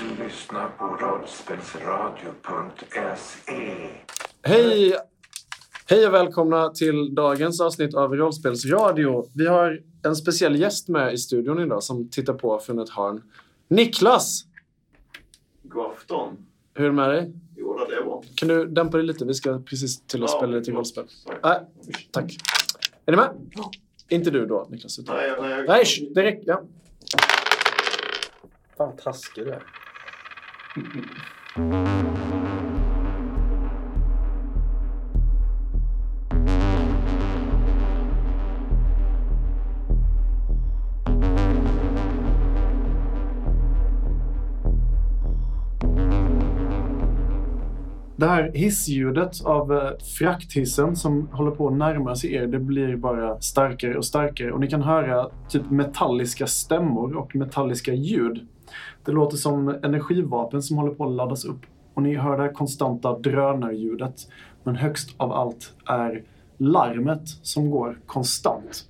lyssnar på E. rollspelsradio.se. Hej! Hej och välkomna till dagens avsnitt av Rollspelsradio. Vi har en speciell gäst med i studion idag som tittar på från ett hörn. Niklas! God afton. Hur är det med dig? Jo, det är bra. Kan du dämpa dig lite? Vi ska precis till Äh. att Ja, spela lite förlåt. rollspel. Sorry. Nej, tack. Är ni med? Inte du då, Niklas. Utan... Nej, nej. Nej, sh, det räcker. Ja. Fan vad taskig du är. Det här hissljudet av eh, frakthissen som håller på att närma sig er, det blir bara starkare och starkare. Och ni kan höra typ metalliska stämmor och metalliska ljud. Det låter som energivapen som håller på att laddas upp. Och ni hör det här konstanta drönarljudet. Men högst av allt är larmet som går konstant.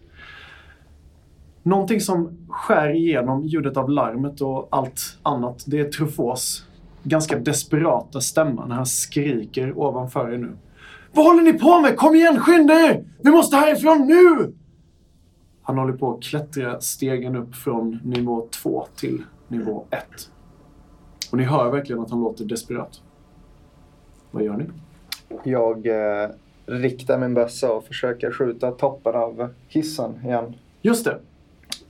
Någonting som skär igenom ljudet av larmet och allt annat, det är Truffauts ganska desperata stämma när han skriker ovanför er nu. Vad håller ni på med? Kom igen, skynda er! Vi måste härifrån nu! Han håller på att klättra stegen upp från nivå 2 till nivå 1. Och ni hör verkligen att han låter desperat. Vad gör ni? Jag eh, riktar min bössa och försöker skjuta toppen av hissen igen. Just det,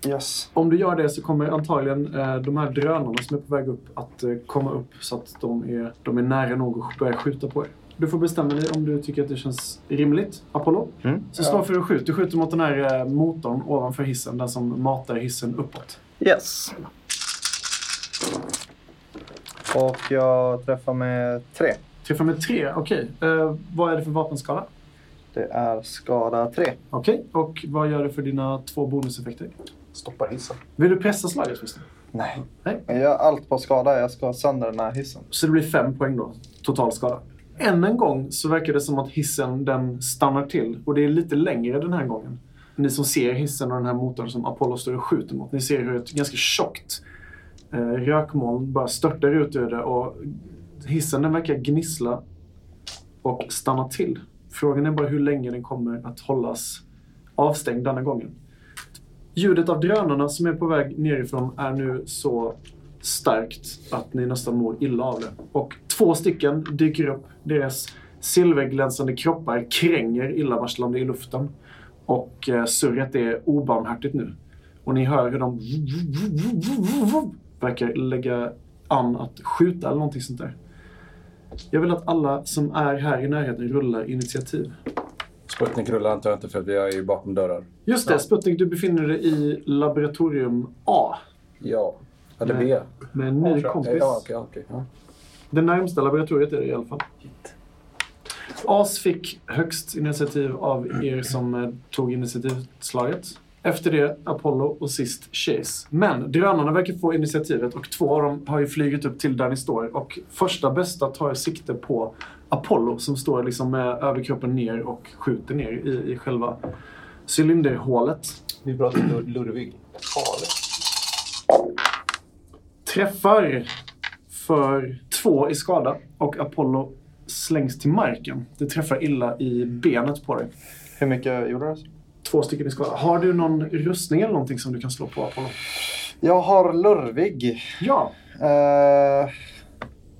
Yes. Om du gör det så kommer antagligen eh, de här drönarna som är på väg upp att eh, komma upp så att de är, de är nära nog att börja skjuta på er. Du får bestämma dig om du tycker att det känns rimligt, Apollo. Mm. Så slå Ja. för att skjuta. Du skjuter mot den här eh, motorn ovanför hissen, den som matar hissen uppåt. Yes. Och jag träffar med tre. Träffar med tre, okej. Eh, vad är det för vapenskala? Det är skada tre. Okej, och vad gör du för dina två bonuseffekter? Stoppar hissen. Vill du pressa slaget förresten? Nej. Nej. Jag gör allt på skada. Jag ska ha sönder den här hissen. Så det blir fem poäng då, totalskada. Än en gång så verkar det som att hissen den stannar till och det är lite längre den här gången. Ni som ser hissen och den här motorn som Apollo står och skjuter mot, ni ser hur ett ganska tjockt eh, rökmoln bara störtar ut ur det och hissen den verkar gnissla och stanna till. Frågan är bara hur länge den kommer att hållas avstängd denna gången. Ljudet av drönarna som är på väg nerifrån är nu så starkt att ni nästan mår illa av det. Och två stycken dyker upp. Deras silverglänsande kroppar kränger illavarslande i luften. Och eh, surret är obarmhärtigt nu. Och ni hör hur de verkar lägga an att skjuta eller någonting sånt där. Jag vill att alla som är här i närheten rullar initiativ. Sputnik rullar antar jag inte för vi är ju bakom dörrar. Just det, Sputnik, du befinner dig i laboratorium A Ja. Eller Nej. B. med en ny kompis. Ja, okej, okej. Ja. Det närmsta laboratoriet är det i alla fall. As fick högst initiativ av er som eh, tog initiativslaget. Efter det Apollo och sist Chase. Men drönarna verkar få initiativet och två av dem har ju flugit upp till där ni står. Och första bästa tar sikte på Apollo som står liksom med överkroppen ner och skjuter ner i, i själva cylinderhålet. Det är bra att Lur- Lurvig är farlig. träffar för två i skada och Apollo slängs till marken. Det träffar illa i benet på dig. Hur mycket gjorde du? Två stycken i skada. Har du någon rustning eller någonting som du kan slå på Apollo? Jag har lurvig. Ja, Eh,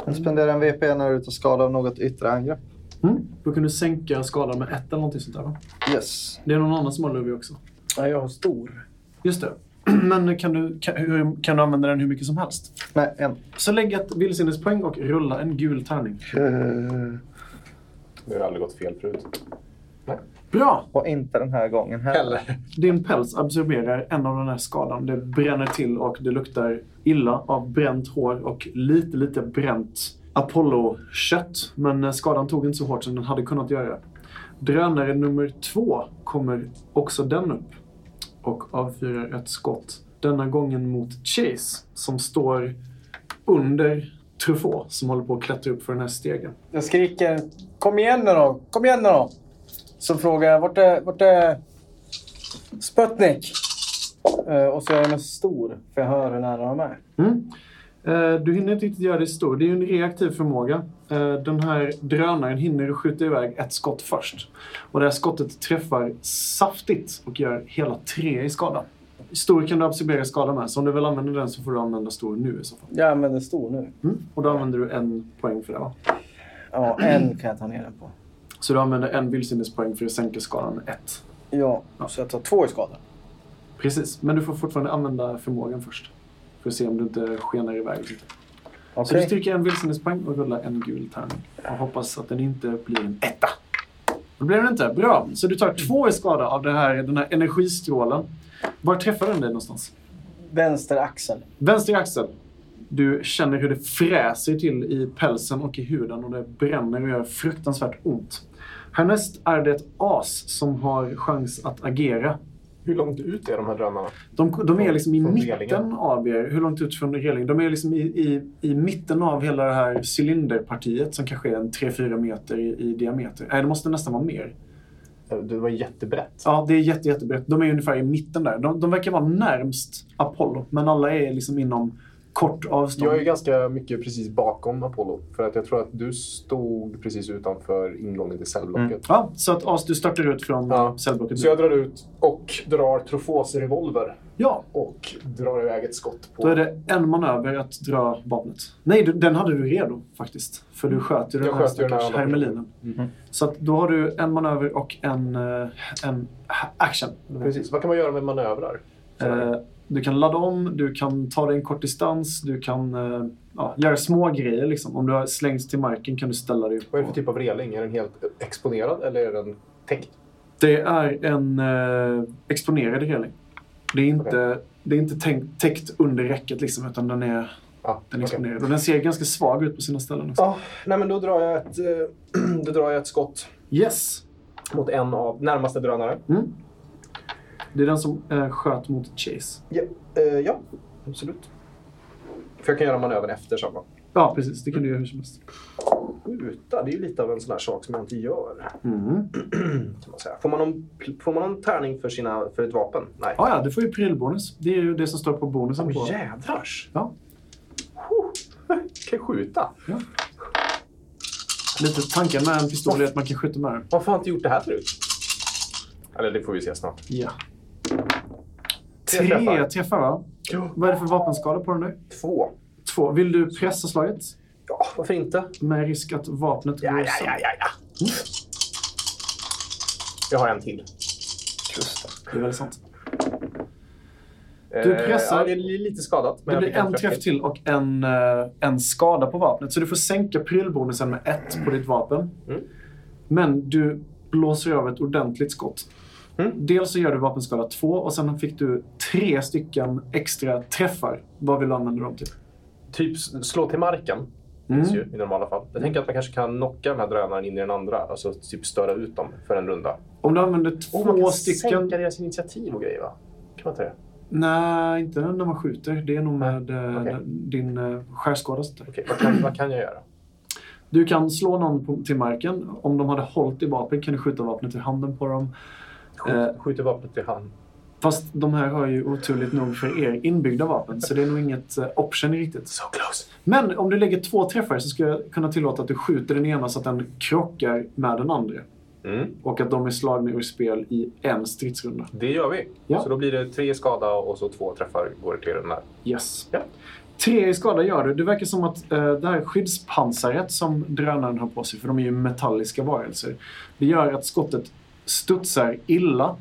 jag spenderar en VP när du är ute och skadar av något yttre angrepp. mm. då kan du sänka skadan med ett eller någonting sånt där va? Yes. Det är någon annan som har Luvi också. Ja, jag har stor. Just det. Men kan du, kan, hur, kan du använda den hur mycket som helst? Nej, en. Så lägg ett vildsinnespoäng och rulla en gul tärning. Eh, Det har aldrig gått fel förut. Bra! och inte den här gången heller. Eller? Din päls absorberar en av den här skadan. Det bränner till och det luktar illa av bränt hår och lite, lite bränt Apollo-kött. Men eh, skadan tog inte så hårt som den hade kunnat göra. Drönare nummer två kommer också den upp och avfyrar ett skott. Denna gången mot Chase som står under Truffaut som håller på att klättra upp för den här stegen. Jag skriker Kom igen nu då! Kom igen nu då! Så frågar jag vart är, vart är Sputnik? Eh, och så är jag med stor, för jag hör hur nära de är. Mm. Eh, Du hinner inte riktigt göra dig stor. Det är ju en reaktiv förmåga. Eh, Den här drönaren hinner du skjuta iväg ett skott först. Och det här skottet träffar saftigt och gör hela tre i skada. Stor kan du absorbera skada med, så om du vill använda den så får du använda stor nu i så fall. Jag använder stor nu. Mm. Och då använder du en poäng för det va? Ja, en kan jag ta ner den på. Så du använder en vildsinnespoäng för att sänka skadan med ett. Ja, så jag tar två i skada. Precis, men du får fortfarande använda förmågan först. För att se om du inte skenar iväg. lite. Så du Okej. stryker en vilsenespoäng och rullar en gul tärning. Och hoppas att den inte blir en etta. Det blir den inte. Bra. Så du tar två i skada av det här, den här energistrålen. Var träffar den dig någonstans? Vänster axel. Vänster axel. Du känner hur det fräser till i pälsen och i huden och det bränner och gör fruktansvärt ont. Härnäst är det ett as som har chans att agera. Hur långt ut är de här drönarna? De, de är liksom i Från mitten relingen. av er. Hur långt ut från relingen? De är liksom i, i, i mitten av hela det här cylinderpartiet som kanske är en 3-4 meter i, i diameter. Nej, det måste nästan vara mer. Det Eh, var jättebrett. Ja, det är jätte, jättebrett. De är ungefär i mitten där. De, de verkar vara närmst Apollo, men alla är liksom inom kort avstånd. Jag är ganska mycket precis bakom Apollo. För att jag tror att du stod precis utanför ingången till cellblocket. Ja, så att As, du startar ut från Ja. cellblocket. Så jag drar ut och drar Trofos revolver Ja, och drar iväg ett skott på... då är det en manöver att dra vapnet. Nej, du, den hade du redo faktiskt. För du sköt ju den Mm. här Jag sköt ju den här stackars andra Mm. hermelinen. Så att då har du en manöver och en, eh, en action. Precis. Vad kan man göra med manövrar? Eh, Du kan ladda om, du kan ta dig en kort distans, du kan eh, ja, göra små grejer. Liksom. Om du har slängts till marken kan du ställa dig upp. Vad är det för typ av reling? Är den helt exponerad eller är den täckt? Det är en eh, exponerad reling. Det är inte, det är inte tänkt, täckt under räcket, liksom, utan den är, Ja, den är okej. exponerad. Och den ser ganska svag ut på sina ställen. Också. Ja, nej men då drar jag ett, eh, då drar jag ett skott Yes! mot en av närmaste drönare. Mm. Det är den som eh, sköt mot Chase. Ja, eh, ja absolut. För jag kan göra manövern efter sen va? Ja, precis. Det kan du göra hur som helst. Skjuta, det är ju lite av en sån här sak som jag inte gör. Mm. Kan man säga. Får, man någon, pl- får man någon tärning för, sina, för ett vapen? Nej. Ah, ja, du får ju prylbonus. Det är ju det som står på bonusen. Åh på. jädrars! Ja. Huh. kan jag skjuta? Lite tanken med en pistol är att man kan skjuta med den. Varför har jag inte gjort det här förut? Eller det får vi se snart. Ja. Tre Tre träffar, träffar. va? Ja. Vad är det för vapenskada på den nu? Två. Två. Vill du pressa slaget? Ja, varför inte? Med risk att vapnet går Ja, ja, sönder. ja, ja, ja. Jag har en till. Det är väldigt sant. Du pressar. Eh, Ja, det är li- lite skadat. Det jag blir fick en träff till och en, eh, en skada på vapnet. Så du får sänka prylbonusen med ett på ditt vapen. Mm. Men du blåser över ett ordentligt skott. Mm. Dels så gör du vapenskada två och sen fick du tre stycken extra träffar. Vad vill du använda dem till? Typ s- slå till marken. Mm. Finns ju i normala fall. Jag tänker att man kanske kan knocka den här drönaren in i den andra. Alltså typ störa ut dem för en runda. Om du använder två Och man kan stycken... sänka deras initiativ och grejer va? Kan man inte det? Nej, inte när man skjuter. Det är nog med eh, Okej. din eh, skärskada. och sånt där. Okej, vad, kan, vad kan jag göra? Du kan slå någon på, till marken. Om de hade hållit i vapen kan du skjuta vapnet ur handen på dem. Skjut, Eh. Skjuter vapnet i hand. Fast de här har ju oturligt nog för er inbyggda vapen, så det är nog inget eh, option riktigt. So close. Men om du lägger två träffar så ska jag kunna tillåta att du skjuter den ena så att den krockar med den andra. Mm. Och att de är slagna ur spel i en stridsrunda. Det gör vi. Ja. Så då blir det tre skada och så två träffar går till den här. Yes. Ja. Tre i skada gör du. Det verkar som att eh, det här skyddspansaret som drönaren har på sig, för de är ju metalliska varelser, det gör att skottet studsar illa.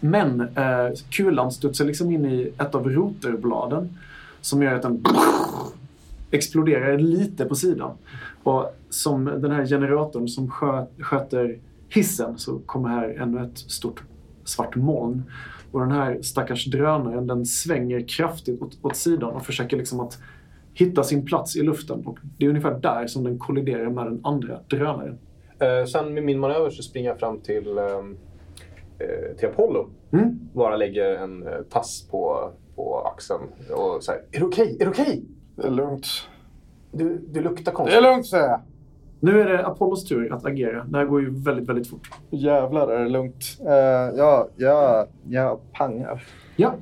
Men eh, kulan studsar liksom in i ett av rotorbladen som gör att den exploderar lite på sidan. Och som den här generatorn som skö- sköter hissen så kommer här ännu ett stort svart moln. Och den här stackars drönaren den svänger kraftigt åt, åt sidan och försöker liksom att hitta sin plats i luften. Och det är ungefär där som den kolliderar med den andra drönaren. Eh, sen med min manöver så springer jag fram till, ehm, eh, till Apollo. Mm. Bara lägger en eh, pass på, på axeln och säger Är det okej? Är det okej? Det är lugnt. Du, du luktar Det är konstigt. lugnt säger jag. Nu är det Apollos tur att agera. Det här går ju väldigt, väldigt fort. Jävlar är det lugnt. Eh, ja, ja, jag pangar. Ja.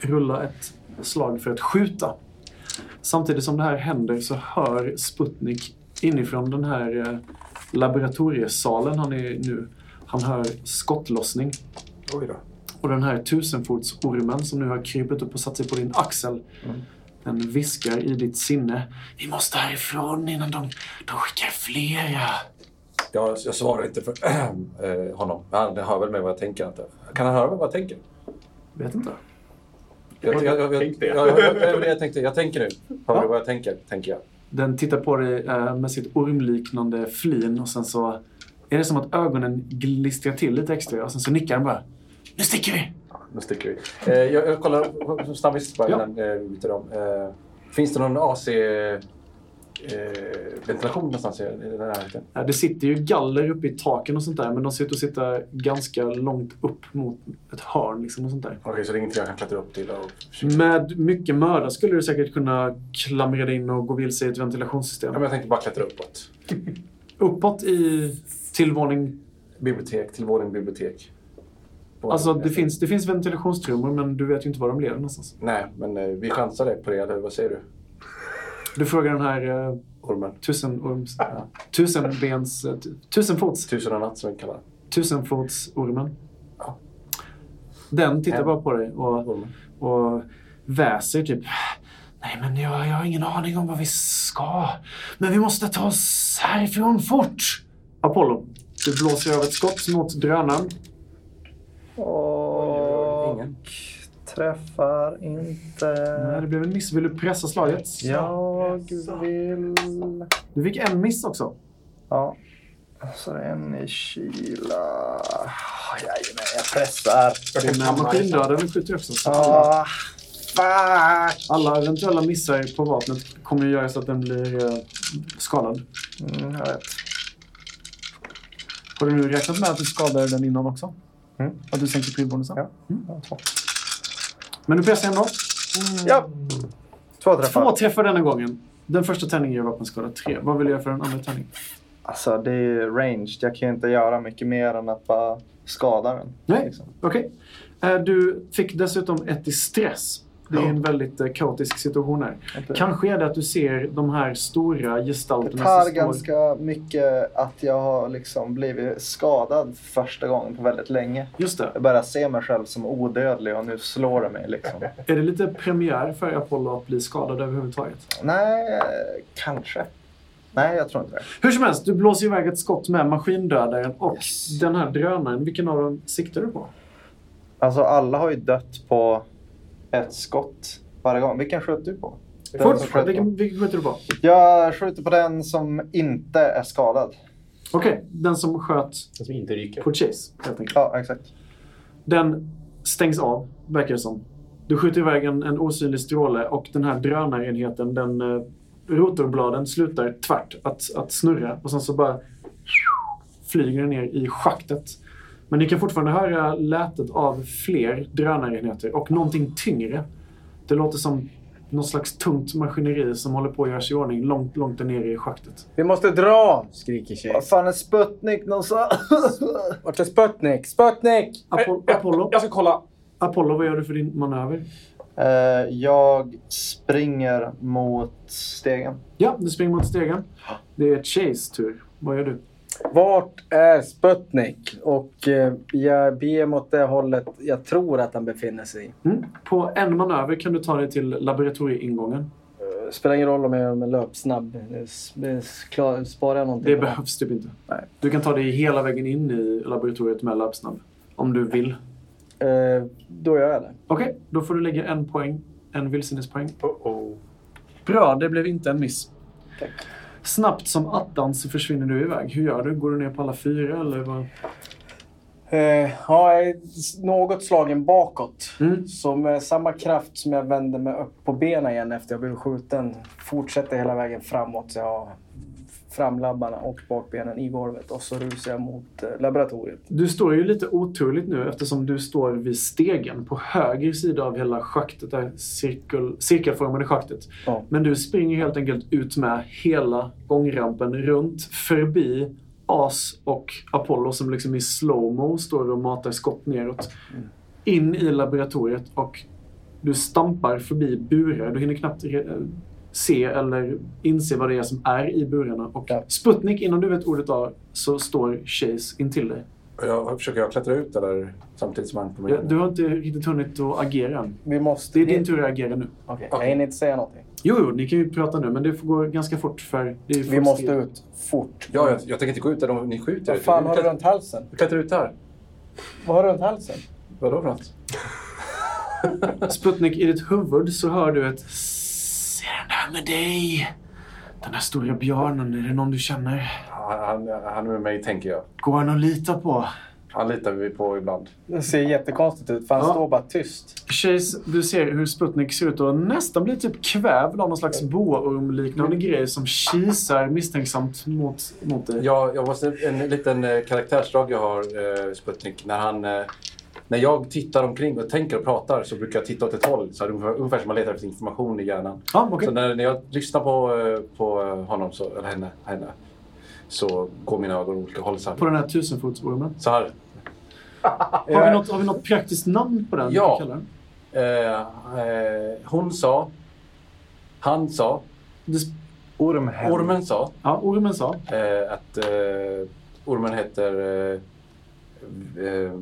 Rulla ett slag för att skjuta. Samtidigt som det här händer så hör Sputnik inifrån den här eh, laboratoriesalen han är i nu. Han hör skottlossning. Oj då. Och den här tusenfotsormen som nu har krypit upp och satt sig på din axel. Den viskar i ditt sinne. Vi måste härifrån innan de, de skickar flera. Jag, jag svarar inte för eh, honom. Han hör väl med vad jag tänker. Inte. Kan han höra med vad jag tänker? Vet inte. Jag, jag, jag, jag, Tänk det. jag, jag, jag, jag, tänkte, jag tänker nu. Hör du vad jag tänker? Tänker jag. Den tittar på dig eh, med sitt ormliknande flin och sen så är det som att ögonen glistrar till lite extra och sen så nickar den bara. Nu sticker vi! Nu sticker vi. Eh, jag, jag kollar snabbt bara Ja. innan eh, vi byter om. Eh, finns det någon AC-ventilation någonstans i i den här närheten? Eh, Det sitter ju galler uppe i taken och sånt där men de ser ut att sitta ganska långt upp mot ett hörn liksom och sånt där. Okej, så det är ingenting jag kan klättra upp till? Och... Med mycket möda skulle du säkert kunna klamra dig in och gå vilse i ett ventilationssystem. Ja, men jag tänkte bara klättra uppåt. Uppåt i tillvåning. Bibliotek, till våning bibliotek. Våning, Alltså det eh, finns, det finns ventilationstrummor men du vet ju inte var de leder någonstans. Nej, men eh, vi chansar det på det, eller vad säger du? Du frågar den här eh, Ormen. tusenorms... Tusenbens... eh, tu- Tusenfots... Tusen och en natt som vi kallar den. Tusenfotsormen. Ja. Den tittar Ja. bara på dig och, ormen. och väser typ. Nej, men jag, jag har ingen aning om vad vi ska. Men vi måste ta oss härifrån fort. Apollo, du blåser över ett skott mot drönaren. Och Ingen. träffar inte. Nej, Eh, det blev en miss. Vill du pressa slaget? Jag vill... Du fick en miss också. Ja. Så det är en i kyla. Ah, Jajamän, jag pressar. Men maskindöden skjuter också. Så alla, Ah, fuck! alla eventuella missar på vapnet kommer ju göra så att den blir eh, skadad. Mm, jag vet. Har du nu räknat med att du skadade den innan också? Mm. Att du sänker prylbonusen? Ja. Men du pressar ändå. Ja. Två träffar. Två träffar denna gången. Den första tärningen ger vapenskada tre. Vad vill du göra för den andra tärningen? Alltså det är ju ranged. Jag kan ju inte göra mycket mer än att bara skada den. Nej. Liksom. Okej. Eh, Du fick dessutom ett i stress. Det är Ja. en väldigt eh, kaotisk situation här. Inte- Kanske är det att du ser de här stora Det gestalterna tar står- ganska mycket att jag har liksom blivit skadad för första gången på väldigt länge. Just det. Jag börjar se mig själv som odödlig och nu slår det mig liksom. Är det lite premiär för Apollo att bli skadad överhuvudtaget? Nej, eh, kanske. Nej, jag tror inte det. Hur som helst, du blåser iväg ett skott med maskindödaren och den här drönaren. Vilken av dem siktar du på? Alltså alla har ju dött på ett skott varje gång. Vilken sköt du på? Den som Fort! sköt på. Vilken, vilken skjuter du på? Jag skjuter på den som inte är skadad. Okej, den som sköt Den som inte ryker. på Chase, helt enkelt. Ja, exakt. Den stängs av, verkar det som. Du skjuter iväg en, en osynlig stråle och den här drönarenheten, den eh, rotorbladen slutar tvärt att, att snurra och sen så bara flyger den ner i schaktet. Men ni kan fortfarande höra lätet av fler drönarenheter och någonting tyngre. Det låter som något slags tungt maskineri som håller på att göra sig i ordning långt, långt där nere i schaktet. Vi måste dra, skriker tjejen. Vad fan är Sputnik någonstans? Vart är Sputnik? Sputnik! Apollo, Apollo, Eh, Jag ska kolla. Apollo, vad gör du för din manöver? Eh, jag springer mot stegen. Ja, du springer mot stegen. Det är Chase tur. Vad gör du? Vart är Sputnik? Och eh, jag ber mot det hållet jag tror att han befinner sig. i. Mm. På en manöver kan du ta dig till laboratorieingången. Eh, Spelar ingen roll om jag gör mig löpsnabb. Eh, s- eh, s- klar- Sparar jag någonting? Det på behövs typ inte. Nej. Du kan ta dig hela vägen in i laboratoriet med löpsnabb. Om du vill. Eh, då gör jag det. Okej, då får du lägga en poäng. En vilsenhetspoäng. Oh -oh. Bra, det blev inte en miss. Snabbt som attan så försvinner du iväg. Hur gör du? Går du ner på alla fyra eller vad? Eh, ja, jag är s- något slagen bakåt. Mm. Så med samma kraft som jag vände mig upp på benen igen efter jag blev skjuten fortsätter hela vägen framåt. Så jag har framlabbarna och bakbenen i golvet och så rusar jag mot eh, laboratoriet. Du står ju lite oturligt nu eftersom du står vid stegen på höger sida av hela schaktet, det här cirkel, cirkelformade schaktet. Ja. Men du springer helt enkelt ut med hela gångrampen runt, förbi As och Apollo som liksom i slowmo står och matar skott neråt. Mm. In i laboratoriet och du stampar förbi burar. Du hinner knappt re- se eller inse vad det är som är i burarna. Och Ja. Sputnik, innan du vet ordet av, så står Chase intill dig. Jag, försöker jag klättra ut eller samtidigt som han kommer Ja, in? Du har inte riktigt hunnit att agera än. Vi måste... Det är din tur att agera nu. Okej, Okej. jag hinner inte säga någonting. Jo, jo, ni kan ju prata nu, men det får gå ganska fort för... Det är ju Vi folk måste skriver. ut fort. Ja, jag, jag tänker inte gå ut där de, ni skjuter. Vad fan har du Klättra- runt halsen? Klättra ut här. Vad har du runt halsen? Vadå för något? Sputnik, i ditt huvud så hör du ett... Ser den där med dig? Den där stora björnen, är det någon du känner? Han, han, han är med mig, tänker jag. Går han att lita på? Han litar vi på ibland. Det ser jättekonstigt ut för han Ja. står bara tyst. Chase, du ser hur Sputnik ser ut och nästan blir typ kvävd av någon slags boaormliknande Mm. grej som kisar misstänksamt mot, mot dig. Jag, jag måste, en liten eh, karaktärsdrag jag har, eh, Sputnik. När, han, eh, när jag tittar omkring och tänker och pratar så brukar jag titta åt ett håll. Så det är ungefär, ungefär som man letar efter information i hjärnan. Ja, Ah, okej. Så när, när jag lyssnar på, eh, på honom, så, eller henne, henne, så går mina ögon åt olika håll. Så På här. den här tusenfotsormen. Så här Har vi, Jag- något, har vi något praktiskt namn på den? Ja. vi kallar den? eh, eh, hon sa, han sa, Det sp- Ormhem. ormen sa Ja, ormen sa. eh, att eh, ormen heter eh, eh,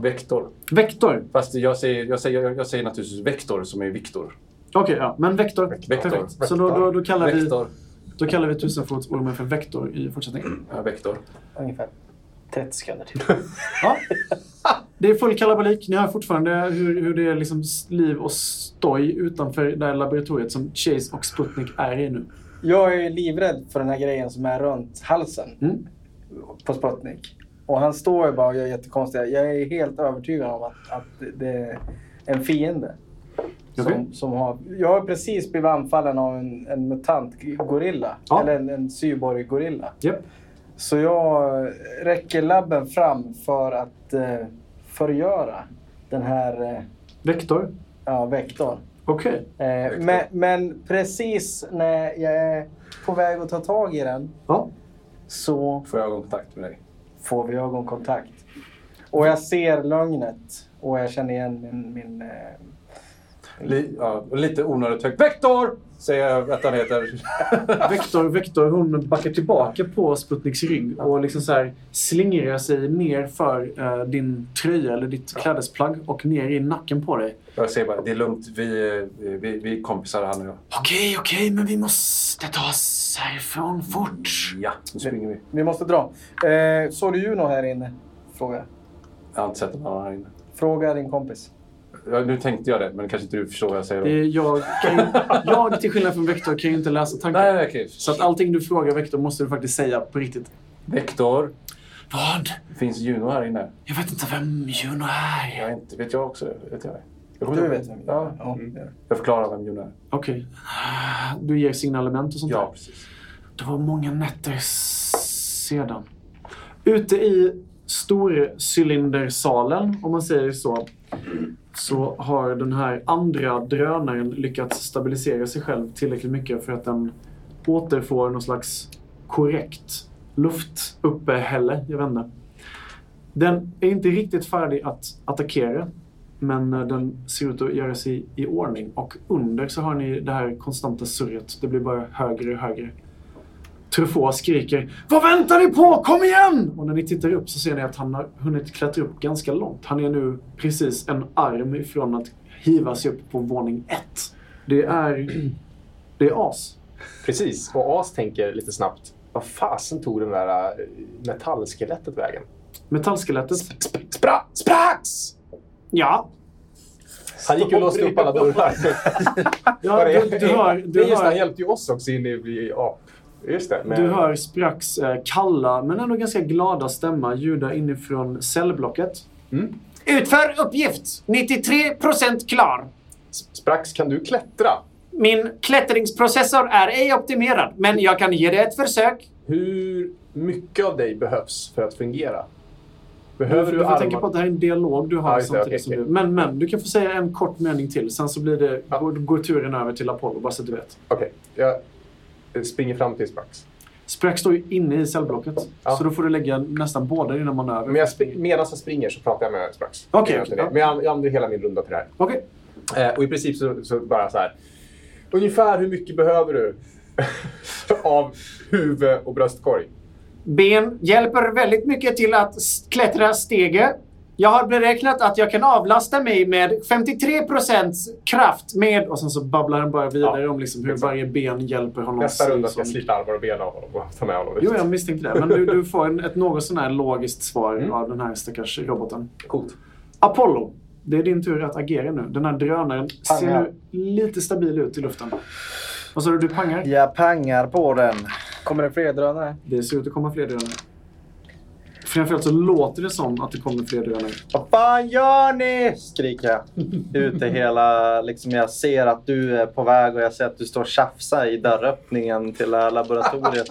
Vektor. Vektor. Fast jag säger, jag, säger, jag säger naturligtvis vektor som är Viktor. Okej, ja. Men vektor. Vektor. Perfekt. Så då, då, då, kallar vi, Vektor. då kallar vi tusenfotsormen för vektor i fortsättningen. Ja, vektor. Ungefär 30 sekunder till. Ja. Det är full kalabalik. Ni hör fortfarande hur, hur det är liksom s- liv och stoj utanför det här laboratoriet som Chase och Sputnik är i nu. Jag är ju livrädd för den här grejen som är runt halsen Mm. på Sputnik. Och han står ju bara och gör jättekonstiga... Jag är helt övertygad om att, att det är en fiende. Okej. Som, som har, jag har precis blivit anfallen av en, en mutant gorilla. Ja. Eller en, en cyborg-gorilla. Japp. Så jag räcker labben fram för att eh, förgöra den här eh, Vektor. ja, vektorn. Okej. Eh, men, men precis när jag är på väg att ta tag i den Ja. så Får jag ögonkontakt med dig? får vi ögonkontakt. Och jag ser lögnet och jag känner igen min... min eh, Mm. Li, ja, lite onödigt högt. Vektor! Säger jag att han heter. Vektor, Vektor, hon backar tillbaka på Sputniks rygg och liksom så här slingrar sig ner för eh, din tröja eller ditt klädesplagg och ner i nacken på dig. Jag säger bara, det är lugnt. Vi, eh, vi, vi är kompisar han och jag. Okej, okej, men vi måste ta oss härifrån fort. Ja, nu springer vi. vi måste dra. Eh, såg du Juno här inne? Frågar jag. Jag har inte sett någon annan här inne. Fråga din kompis. Ja, nu tänkte jag det, men kanske inte du förstår vad jag säger. då. Det är jag, kan ju, jag, till skillnad från Vektor, kan ju inte läsa tankar. Nej, nej, okej. Så att allting du frågar Vektor måste du faktiskt säga på riktigt. Vektor. Vad? Finns Juno här inne? Jag vet inte vem Juno Jag är. vet inte. Vet jag också det? Vet jag det? Jag kommer Du inte- vet vem jag Ja. är. Mm. Ja, det är det. Jag förklarar vem Juno är. Okej. Du ger signalement och sånt där? Ja, precis. Det var många nätter sedan. Ute i storcylindersalen, om man säger så, så har den här andra drönaren lyckats stabilisera sig själv tillräckligt mycket för att den återfår någon slags korrekt luftuppehälle. Jag vet inte. Den är inte riktigt färdig att attackera, men eh, den ser ut att göra sig i ordning. Och under så har ni det här konstanta surret. Det blir bara högre och högre. Truffaut skriker Vad väntar ni på? Kom igen! Och när ni tittar upp så ser ni att han har hunnit klättra upp ganska långt. Han är nu precis en arm ifrån att hiva sig upp på våning ett. Det är... Det är as. Precis. Och As tänker lite snabbt. Vad fasen tog den där eh, metallskelettet vägen? Metallskelettet. Spra sprax! Ja. Han gick ju och låste upp alla dörrar. ja du, du hör, det är du just det, han hör, hjälpte ju oss också in i... i ja, just det. men- du hör Spracks eh, kalla men ändå ganska glada stämma ljuda inifrån cellblocket. Mm. Utför uppgift! 93% klar! Sprax, kan du klättra? Min klättringsprocessor är ej optimerad, men jag kan ge det ett försök. Hur mycket av dig behövs för att fungera? Du, Behöver du, får armar? tänka på att det här är en dialog du har Ja, just det, samtidigt okej, som okej. du... Men, men, du kan få säga en kort mening till. Sen så blir det, Ja. går, går turen över till Apollo, bara så att du vet. Okej, jag springer fram till Sprax. Sprack står ju inne i cellblocket, Ja. så då får du lägga nästan båda dina manöver. Men jag spring, medan jag springer så pratar jag med Sprax. Okej, Jag gör inte okej, det. Men jag, jag använder hela min runda till det här. Okej. Eh, och i princip så, så bara så här. Ungefär hur mycket behöver du av huvud och bröstkorg? Ben hjälper väldigt mycket till att s- klättra stege. Jag har beräknat att jag kan avlasta mig med 53 kraft med... Och sen så babblar han bara vidare Ja, om liksom hur exakt. varje ben hjälper honom. Nästa si runda ska jag som- slita armar och ben av honom och ta med honom dit. Jo, jag misstänkte det. Men du, du får en, ett något sån här logiskt svar av den här stackars roboten. Coolt. Apollo, det är din tur att agera nu. Den här drönaren ser Pangar. nu lite stabil ut i luften. Vad sa du? Du pangar? Jag pangar på den. Kommer det fler drönare? Det ser ut att komma fler drönare. Framförallt så låter det som att det kommer fler drönare. Vad fan gör ni? Skriker jag. Ut i hela... Liksom, jag ser att du är på väg och jag ser att du står och tjafsar i dörröppningen till det här laboratoriet.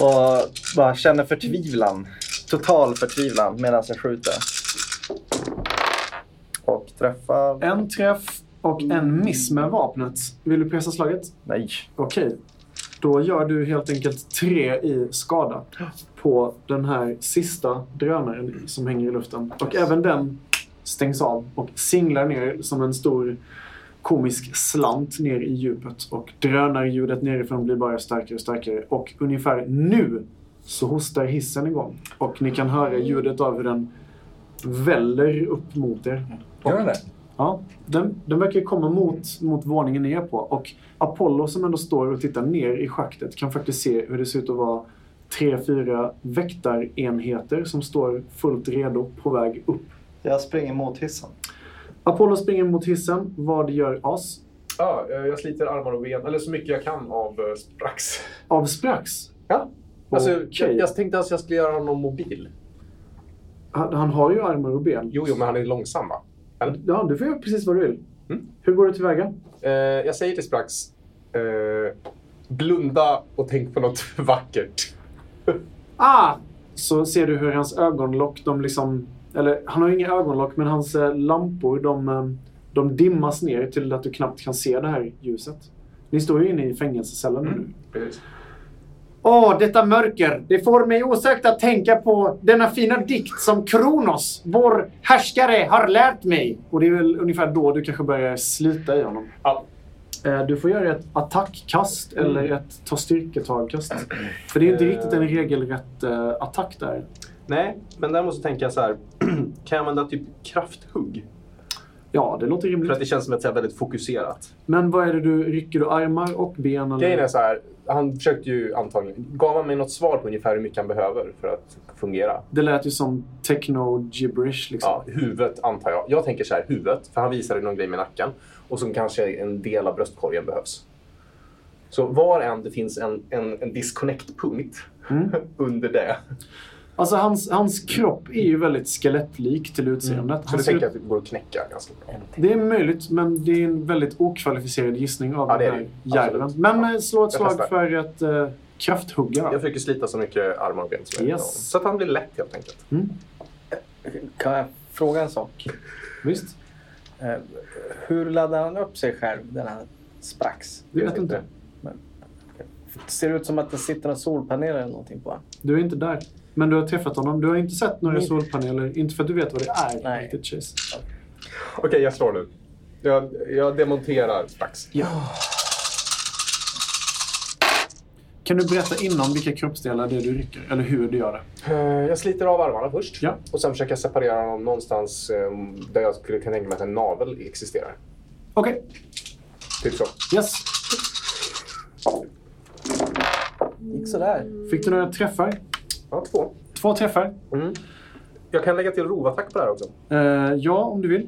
Och bara känner förtvivlan. Total förtvivlan medan jag skjuter. Och träffar... En träff och en miss med vapnet. Vill du pressa slaget? Nej. Okej. Då gör du helt enkelt tre i skada på den här sista drönaren som hänger i luften. Och även den stängs av och singlar ner som en stor komisk slant ner i djupet. Och drönarljudet nerifrån blir bara starkare och starkare. Och ungefär nu så hostar hissen igång. Och ni kan höra ljudet av hur den väller upp mot er. Gör den det? Ja, den, den verkar komma mot, mot våningen ni är på. Och Apollo som ändå står och tittar ner i schaktet kan faktiskt se hur det ser ut att vara tre, fyra väktarenheter som står fullt redo på väg upp. Jag springer mot hissen. Apollo springer mot hissen. Vad gör As? Ja, eh, jag sliter armar och ben, eller så mycket jag kan av eh, Sprax. Av Sprax. Ja. Alltså, jag, Okej. jag tänkte att jag skulle göra honom mobil. Han, han har ju armar och ben. Jo, jo, men han är långsam va? Ja, du får göra precis vad du vill. Mm. Hur går du tillväga? Eh, jag säger till Sprax, eh, blunda och tänk på något vackert. Ah! Så ser du hur hans ögonlock, de liksom... Eller han har ju inga ögonlock, men hans eh, lampor, de, eh, de dimmas ner till att du knappt kan se det här ljuset. Ni står ju inne i fängelsecellen nu. Mm. Precis. Åh, detta mörker! Det får mig osökt att tänka på denna fina dikt som Kronos, vår härskare, har lärt mig. Och det är väl ungefär då du kanske börjar slita i honom. Ja. Mm. Eh, Du får göra ett attackkast eller ett ta styrketagkast. För det är inte Eh. riktigt en regelrätt eh, attack där. Nej, men däremot så tänker jag så här. kan jag använda typ krafthugg? Ja, det låter För att rimligt. det känns som ett så här väldigt fokuserat. Men vad är det du... Rycker du armar och ben? Eller? Grejen är så här, han försökte ju antagligen... Gav han mig något svar på ungefär hur mycket han behöver för att fungera? Det lät ju som techno-gibberish. Liksom. Ja, huvudet antar jag. Jag tänker så här, huvudet, för han visade någon grej med nacken. Och som kanske en del av bröstkorgen behövs. Så var än det finns en, en, en disconnect-punkt Mm. under det. Alltså hans, hans kropp är ju väldigt skelettlik till utseendet. Mm. Så Han du ser tänker ut, att det går att knäcka ganska bra. det är möjligt, men det är en väldigt okvalificerad gissning av Ja, det den är här det ju. järven. Absolut. Men Ja. eh, slå ett Jag slag testar. för ett eh, krafthugga. Jag då. försöker slita så mycket armar och ben som Yes. möjligt. Så att han blir lätt helt enkelt. Kan jag fråga en sak? Visst? Eh, Hur laddar han upp sig själv, den här Sprax? Du vet inte. Ser det ut som att det sitter en solpanel eller någonting på honom? Du är inte där. Men du har träffat honom. Du har inte sett några Nej. solpaneler. Inte för att du vet vad det är. Nej. Riktigt, Chase. Okej, jag slår nu. Jag, jag demonterar strax. Kan du berätta innan vilka kroppsdelar det är du rycker? Eller hur du gör det? Eh, Jag sliter av armarna först. Ja. Och sen försöker jag separera dem någonstans eh, där jag skulle kunna tänka mig att en navel existerar. Okej. Typ så. Yes. Gick sådär. Fick du några träffar? Ja, två. Två träffar. Mm. Jag kan lägga till rovattack på det här också. Eh, ja, om du vill.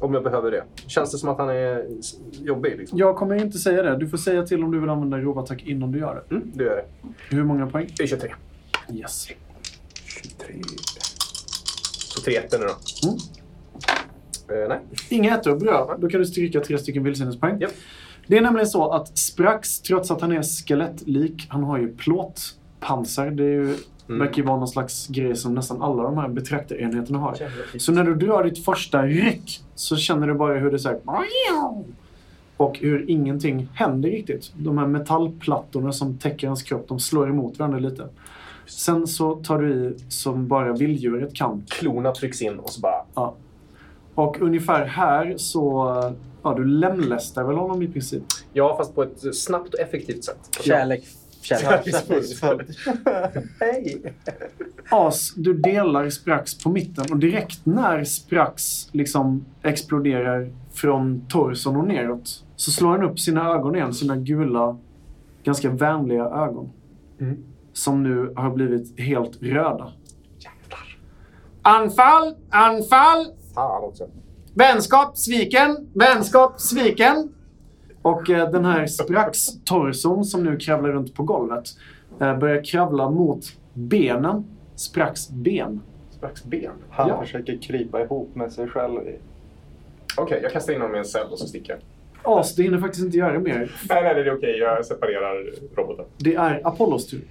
Om jag behöver det. Känns det som att han är s- jobbig? Liksom? Jag kommer inte säga det. Du får säga till om du vill använda rovattack innan du gör det. Mm, det gör det. Hur många poäng? Det är 23. Yes. 23. Så tre ettor nu då. Mm. Eh, nej. Inga ettor, bra. Då kan du stryka tre stycken vildsinnespoäng. Japp. Det är nämligen så att Sprax, trots att han är skelettlik, han har ju plåtpansar. Det är ju, verkar ju vara någon slags grej som nästan alla de här betraktarenheterna har. Så när du drar ditt första ryck så känner du bara hur det så här... Och hur ingenting händer riktigt. De här metallplattorna som täcker hans kropp, de slår emot varandra lite. Sen så tar du i som bara vilddjuret kan. Klorna trycks in och så bara... Och ungefär här så Ja, du lemlästar väl honom i princip? Ja, fast på ett snabbt och effektivt sätt. Kärlek. Kärlek. Hej! As, du delar Sprax på mitten och direkt när Sprax liksom exploderar från torson och neråt så slår han upp sina ögon igen, sina gula, ganska vänliga ögon. Som nu har blivit helt röda. Anfall, anfall! Fan också. Vänskap sviken, vänskap sviken. Och eh, den här Sprax-torson som nu kravlar runt på golvet eh, börjar kravla mot benen. Sprax ben. Sprax ben. Han Ja. försöker krypa ihop med sig själv. i- Okej, jag kastar in honom i en cell och så sticker jag. As, du hinner faktiskt inte göra mer. Nej, nej, det är okej. Jag separerar roboten. Det är Apollos tur.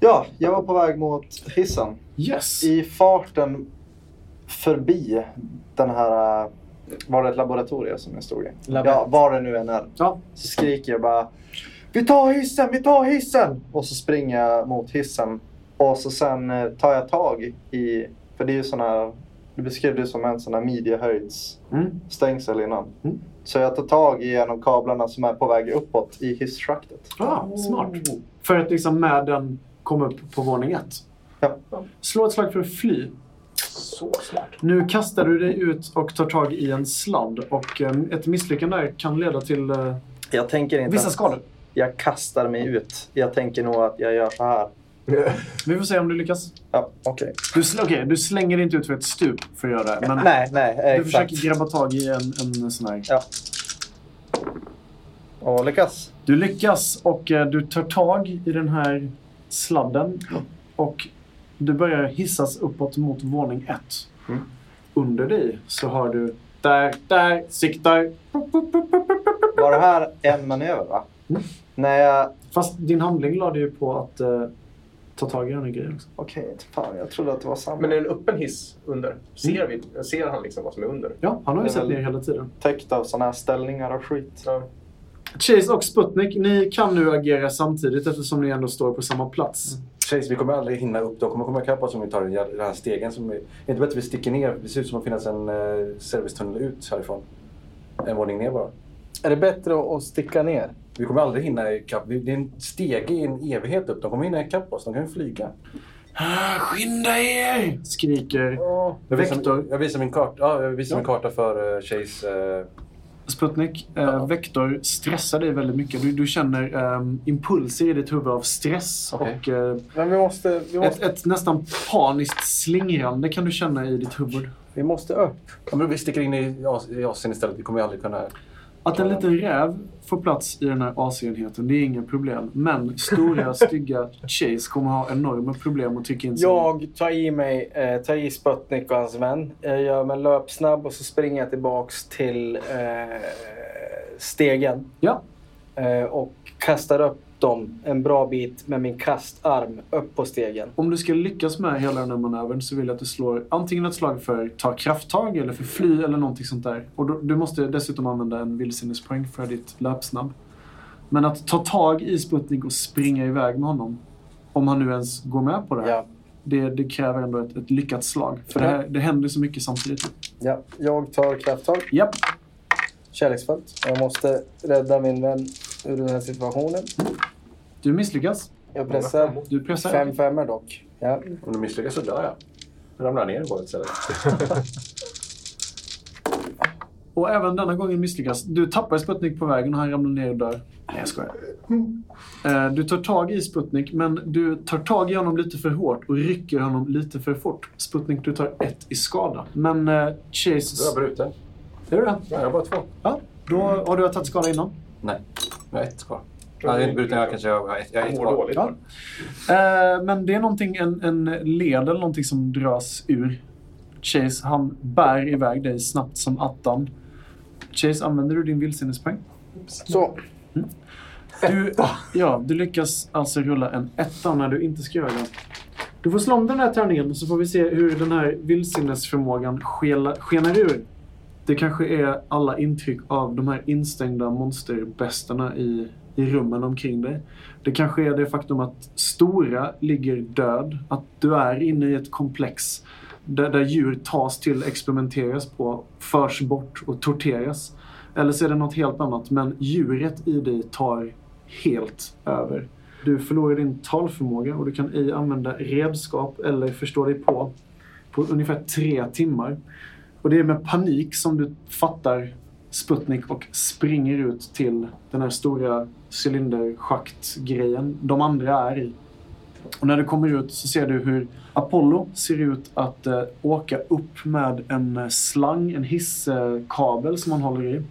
Ja, jag var på väg mot hissen. Yes! I farten förbi den här... äh, Var det ett laboratorium som jag stod i? Labyrint. Ja, var det nu än är. Ja. Så skriker jag bara Vi tar hissen, vi tar hissen! Och så springer jag mot hissen. Och så sen eh, tar jag tag i... För det är ju sån här... Du beskrev det som en sån här midjehöjds Mm. stängsel innan. Mm. Så jag tar tag i en av kablarna som är på väg uppåt i hisschaktet. Ah, smart. För att liksom med den komma upp på våning ett. Ja. Slå ett slag för att fly. Så smart. Nu kastar du dig ut och tar tag i en sladd. Och eh, ett misslyckande där kan leda till eh, Jag tänker inte... vissa att skador. Jag kastar mig ut. Jag tänker nog att jag gör så här. Vi får se om du lyckas. Ja, okej. Du, sl- okej, du slänger inte ut för ett stup för att göra det. Men Nej, nej, du exakt. försöker grabba tag i en, en sån här. Och lyckas. Du lyckas och eh, du tar tag i den här sladden och du börjar hissas uppåt mot våning ett. Under dig så har du där, där, siktar. Var det här en manöver, va? Mm. När jag... Fast din handling lade ju på att eh, ta tag i den här grejen också. Okej, fan, jag trodde att det var samma. Men är det en öppen hiss under? Ser, Mm. vi, ser han liksom vad som är under? Ja, han har ju Det är sett väl- ner hela tiden. Täckt av såna här ställningar och skit. Ja. Chase och Sputnik, ni kan nu agera samtidigt eftersom ni ändå står på samma plats. Chase, vi kommer aldrig hinna upp. De kommer komma ikapp oss om vi tar den jä- den här stegen. Som är, är det inte bättre att vi sticker ner? Det ser ut som att finnas en eh, servicetunnel ut härifrån. En våning ner bara. Är det bättre att- att sticka ner? Vi kommer aldrig hinna ikapp. Vi- Det är en stege i en evighet upp. De kommer hinna ikapp oss. De kan ju flyga. Ah, skynda er! Skriker Jag visar, Vektor. jag visar min karta, ja, jag visar min karta för eh, Chase. eh, Sputnik, eh, Vektor stressar dig väldigt mycket. Du, du känner ehm, impulser i ditt huvud av stress Okej. och eh, Men vi måste, vi ett, måste, ett nästan paniskt slingrande kan du känna i ditt huvud. vi måste upp. ja, men vi sticker in i as- i Asien istället. Vi kommer ju aldrig kunna... Att en liten räv får plats i den här AC-enheten, det är inga problem. Men stora, stygga Chase kommer ha enorma problem att trycka in sig. Jag tar i mig, eh, tar i Sputnik och hans vän. Jag gör mig löpsnabb och så springer jag tillbaks till eh, stegen. Ja. Eh, och kastar upp dem en bra bit med min kastarm upp på stegen. Om du ska lyckas med hela den här manövern så vill jag att du slår antingen ett slag för ta krafttag eller för fly eller någonting sånt där. Och då, du måste dessutom använda en vildsinnespoäng för ditt löpsnabb. Men att ta tag i Sputnik och springa iväg med honom, om han nu ens går med på det här, Ja, det, det kräver ändå ett, ett lyckat slag. För det, här, det händer så mycket samtidigt. ja. Jag tar krafttag, Japp, kärleksfullt. Jag måste rädda min vän ur den här situationen. du misslyckas. Jag pressar Du pressar. fem femmor dock. Ja. Om du misslyckas så dör jag. Jag ramlar ner i golvet istället. Och även denna gången misslyckas. Du tappar Sputnik på vägen och han ramlar ner och dör. Nej, jag skojar. Eh, Du tar tag i Sputnik, men du tar tag i honom lite för hårt och rycker honom lite för fort. Sputnik, du tar ett i skada. Men eh, Då är jag Chase... bruten. Är du det? Ja, jag har bara två. Ja. Då har du tagit skada innan. Nej, jag har ett kvar. Nej, jag är inte bruten. Jag kanske jag har ett, jag har ett Mår kvar. dåligt. Ja. Eh, Men det är någonting, en, en led eller någonting som dras ur. Chase, han bär iväg dig snabbt som attan. Chase, använder du din vildsinnespoäng? Mm. Så, Du, ja, du lyckas alltså rulla en etta när du inte ska göra det. Du får slå om den här tärningen så får vi se hur den här vildsinnesförmågan skela, skenar ur. Det kanske är alla intryck av de här instängda monsterbästarna i, i rummen omkring dig. Det kanske är det faktum att Stora ligger död, att du är inne i ett komplex där, där djur tas till, experimenteras på, förs bort och torteras. Eller så är det något helt annat, men djuret i dig tar helt över. Du förlorar din talförmåga och du kan ej använda redskap eller förstå dig på på ungefär tre timmar. Och det är med panik som du fattar Sputnik och springer ut till den här stora cylinderschaktgrejen de andra är i. Och när du kommer ut så ser du hur Apollo ser ut att eh, åka upp med en eh, slang, en hisskabel som han håller i.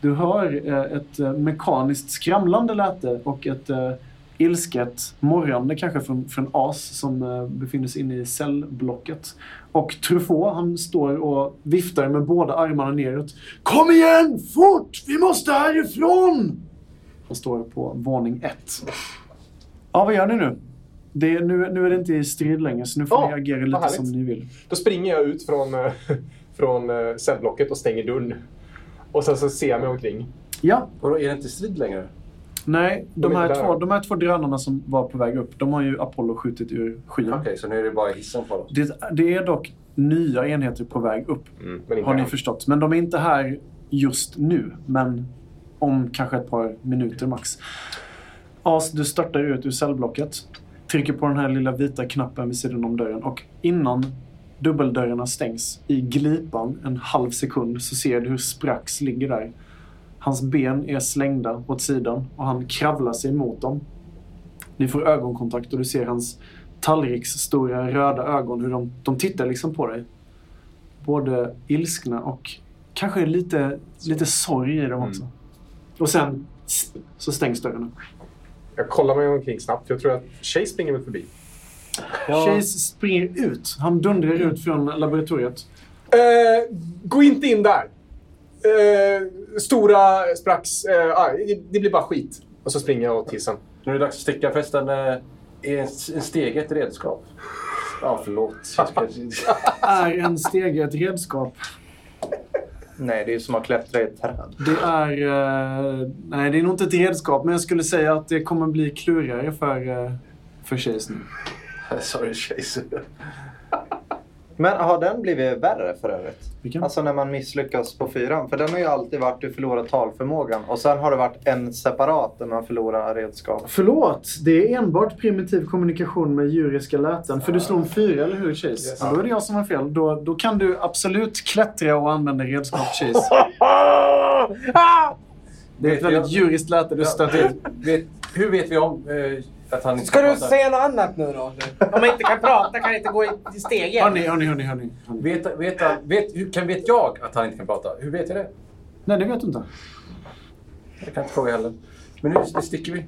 Du hör eh, ett eh, mekaniskt skramlande läte och ett eh, ilsket morrande kanske från, från As som eh, befinner sig inne i cellblocket. Och Truffaut, han står och viftar med båda armarna neråt. Kom igen! Fort! Vi måste härifrån! Han står på våning ett. Ja, vad gör ni nu? Det är, nu, nu är det inte i strid längre, så nu får Ja, ni agera vad lite härligt. som ni vill. Då springer jag ut från, eh, från eh, cellblocket och stänger dörren. Och sen så ser jag mig omkring. Ja, Vadå, är det inte strid längre? nej. De är här, där. två, de här två drönarna som var på väg upp, de har ju Apollo skjutit ur skyn. Okej, så nu är det bara hissen kvar då. Det, det är dock nya enheter på väg upp, Men inte har ni än. förstått. Men de är inte här just nu, men om kanske ett par minuter max. As, du störtar ut ur cellblocket, trycker på den här lilla vita knappen vid sidan om dörren och innan dubbeldörrarna stängs i glipan en halv sekund så ser du hur Sprax ligger där. Hans ben är slängda åt sidan och han kravlar sig mot dem. Ni får ögonkontakt och du ser hans tallriks stora röda ögon, hur de, de tittar liksom på dig. Både ilskna och kanske lite, lite sorg i dem också. Och sen s- så stängs dörren. Jag kollar mig omkring snabbt. Jag tror att Shay springer väl förbi. Chase springer ut. Han dundrar ut från laboratoriet. Eh, gå inte in där! Eh, stora sprax. Eh, ah, det- det blir bara skit. Och så springer jag åt hissen. Nu är det dags att sticka förresten. eh, Är en s- en steg ett redskap? Ja, förlåt. Jag ska- Är en stege ett redskap? Nej, det är ju som att klättra i ett träd. Det är... eh, nej, det är nog inte ett redskap, men jag skulle säga att det kommer bli klurigare för, eh, för Chase nu. Sorry, Chase. Men har den blivit värre för övrigt? Vilken? Alltså när man misslyckas på fyran. För den har ju alltid varit du förlorar talförmågan. Och sen har det varit en separat där man förlorar redskap. Förlåt, det är enbart primitiv kommunikation med djuriska läten. För du slog en fyra, eller hur Chase? Ja, då är det jag som har fel. Då, då kan du absolut klättra och använda redskap, Chase. Ah! Det är ett Vet väldigt jag- djuriskt läte du stöter ut. Vet, hur vet vi om eh, att han inte Ska du pratar? säga något annat nu då? Om man inte kan prata kan inte gå i steget. Hörni, hörni, hörni, hörni. hörni. Vet, vet, han- vet, hur kan, vet jag att han inte kan prata? Hur vet jag det? Nej, det vet du inte. Jag kan inte fråga heller. Men nu nu sticker vi.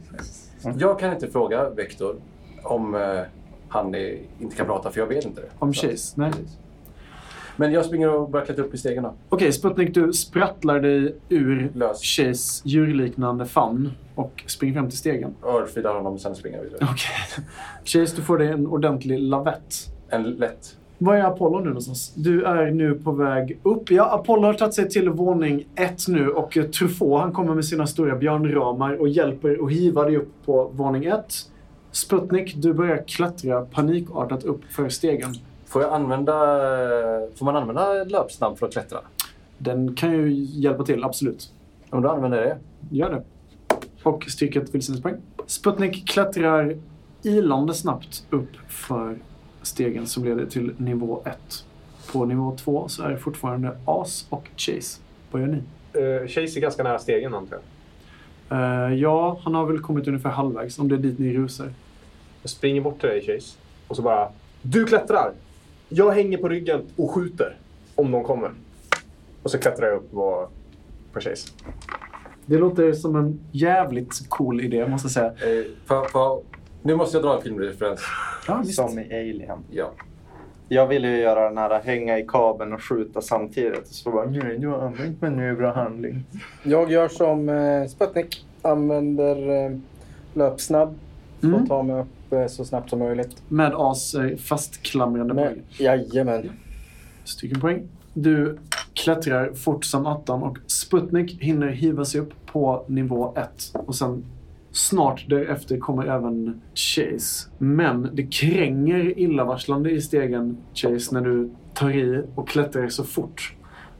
Jag kan inte fråga Vektor om eh, han är, inte kan prata, för jag vet inte det. Om Chase? Nej. Men jag springer och börjar klättra upp i stegen då. Okej, Sputnik, du sprattlar dig ur Lös. Chase djurliknande famn och springer fram till stegen. Örfilar honom och sen springer jag vidare. Okej. Chase, du får dig en ordentlig lavett. En lätt... Var är Apollo nu någonstans? Du är nu på väg upp. Ja, Apollo har tagit sig till våning ett nu och eh, Truffaut han kommer med sina stora björnramar och hjälper och hivar dig upp på våning ett. Sputnik, du börjar klättra panikartat upp för stegen. Får, jag använda, får man använda löpsnabb för att klättra? Den kan ju hjälpa till, absolut. Om du använder jag det? Gör det. Och styrka ett vildsvinspoäng. Sputnik klättrar ilande snabbt upp för stegen som leder till nivå 1. På nivå 2 så är det fortfarande As och Chase. Vad gör ni? Eh, Chase är ganska nära stegen antar jag. Eh, ja, han har väl kommit ungefär halvvägs, om det är dit ni rusar. Jag springer bort till dig Chase. Och så bara... Du klättrar! Jag hänger på ryggen och skjuter. Om de kommer. Och så klättrar jag upp på, på Chase. Det låter som en jävligt cool idé, måste jag säga. Eh, för, för, nu måste jag dra en filmreferens. Ja, visst. Som i Alien. Ja. Jag ville ju göra den här hänga i kabeln och skjuta samtidigt. Så bara, nej, du har använt mig nu bra handling. Jag gör som eh, Sputnik. Använder eh, löpsnabb. Får Mm. ta mig upp eh, så snabbt som möjligt. Med As eh, fastklamrande poäng. Men, jajamän. stycken poäng. Du klättrar fort som attan och Sputnik hinner hiva sig upp på nivå 1. Och sen snart därefter kommer även Chase. Men det kränger illavarslande i stegen Chase när du tar i och klättrar så fort.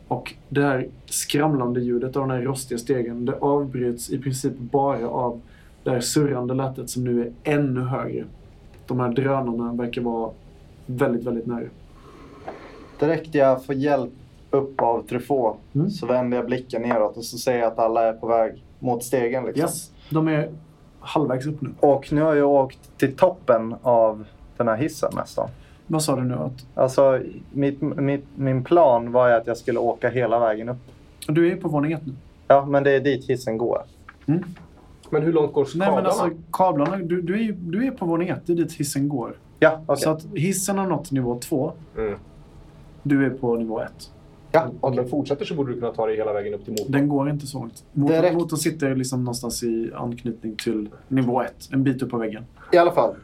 Och det här skramlande ljudet av den här rostiga stegen, det avbryts i princip bara av det här surrande lätet som nu är ännu högre. De här drönarna verkar vara väldigt, väldigt nära. Direkt jag får hjälp upp av Truffaut Mm. så vänder jag blicken neråt och så ser jag att alla är på väg mot stegen. Liksom. Yes, de är halvvägs upp nu. Och nu har jag åkt till toppen av den här hissen nästan. Vad sa du nu? Att Alltså, mitt, mitt, min plan var ju att jag skulle åka hela vägen upp. du är på våning ett nu. Ja, men det är dit hissen går. Men hur långt går skadorna? Nej, men alltså kablarna. Du, du, är, ju- du är på våning ett. Det är dit hissen går. Ja, okej. Så att hissen har nått nivå två. Mm. Du är på nivå ett. ja, om den fortsätter så borde du kunna ta dig hela vägen upp till motorn. Den går inte så långt. Motorn, Direkt. motorn sitter liksom någonstans i anknytning till nivå ett. En bit upp på väggen. I alla fall.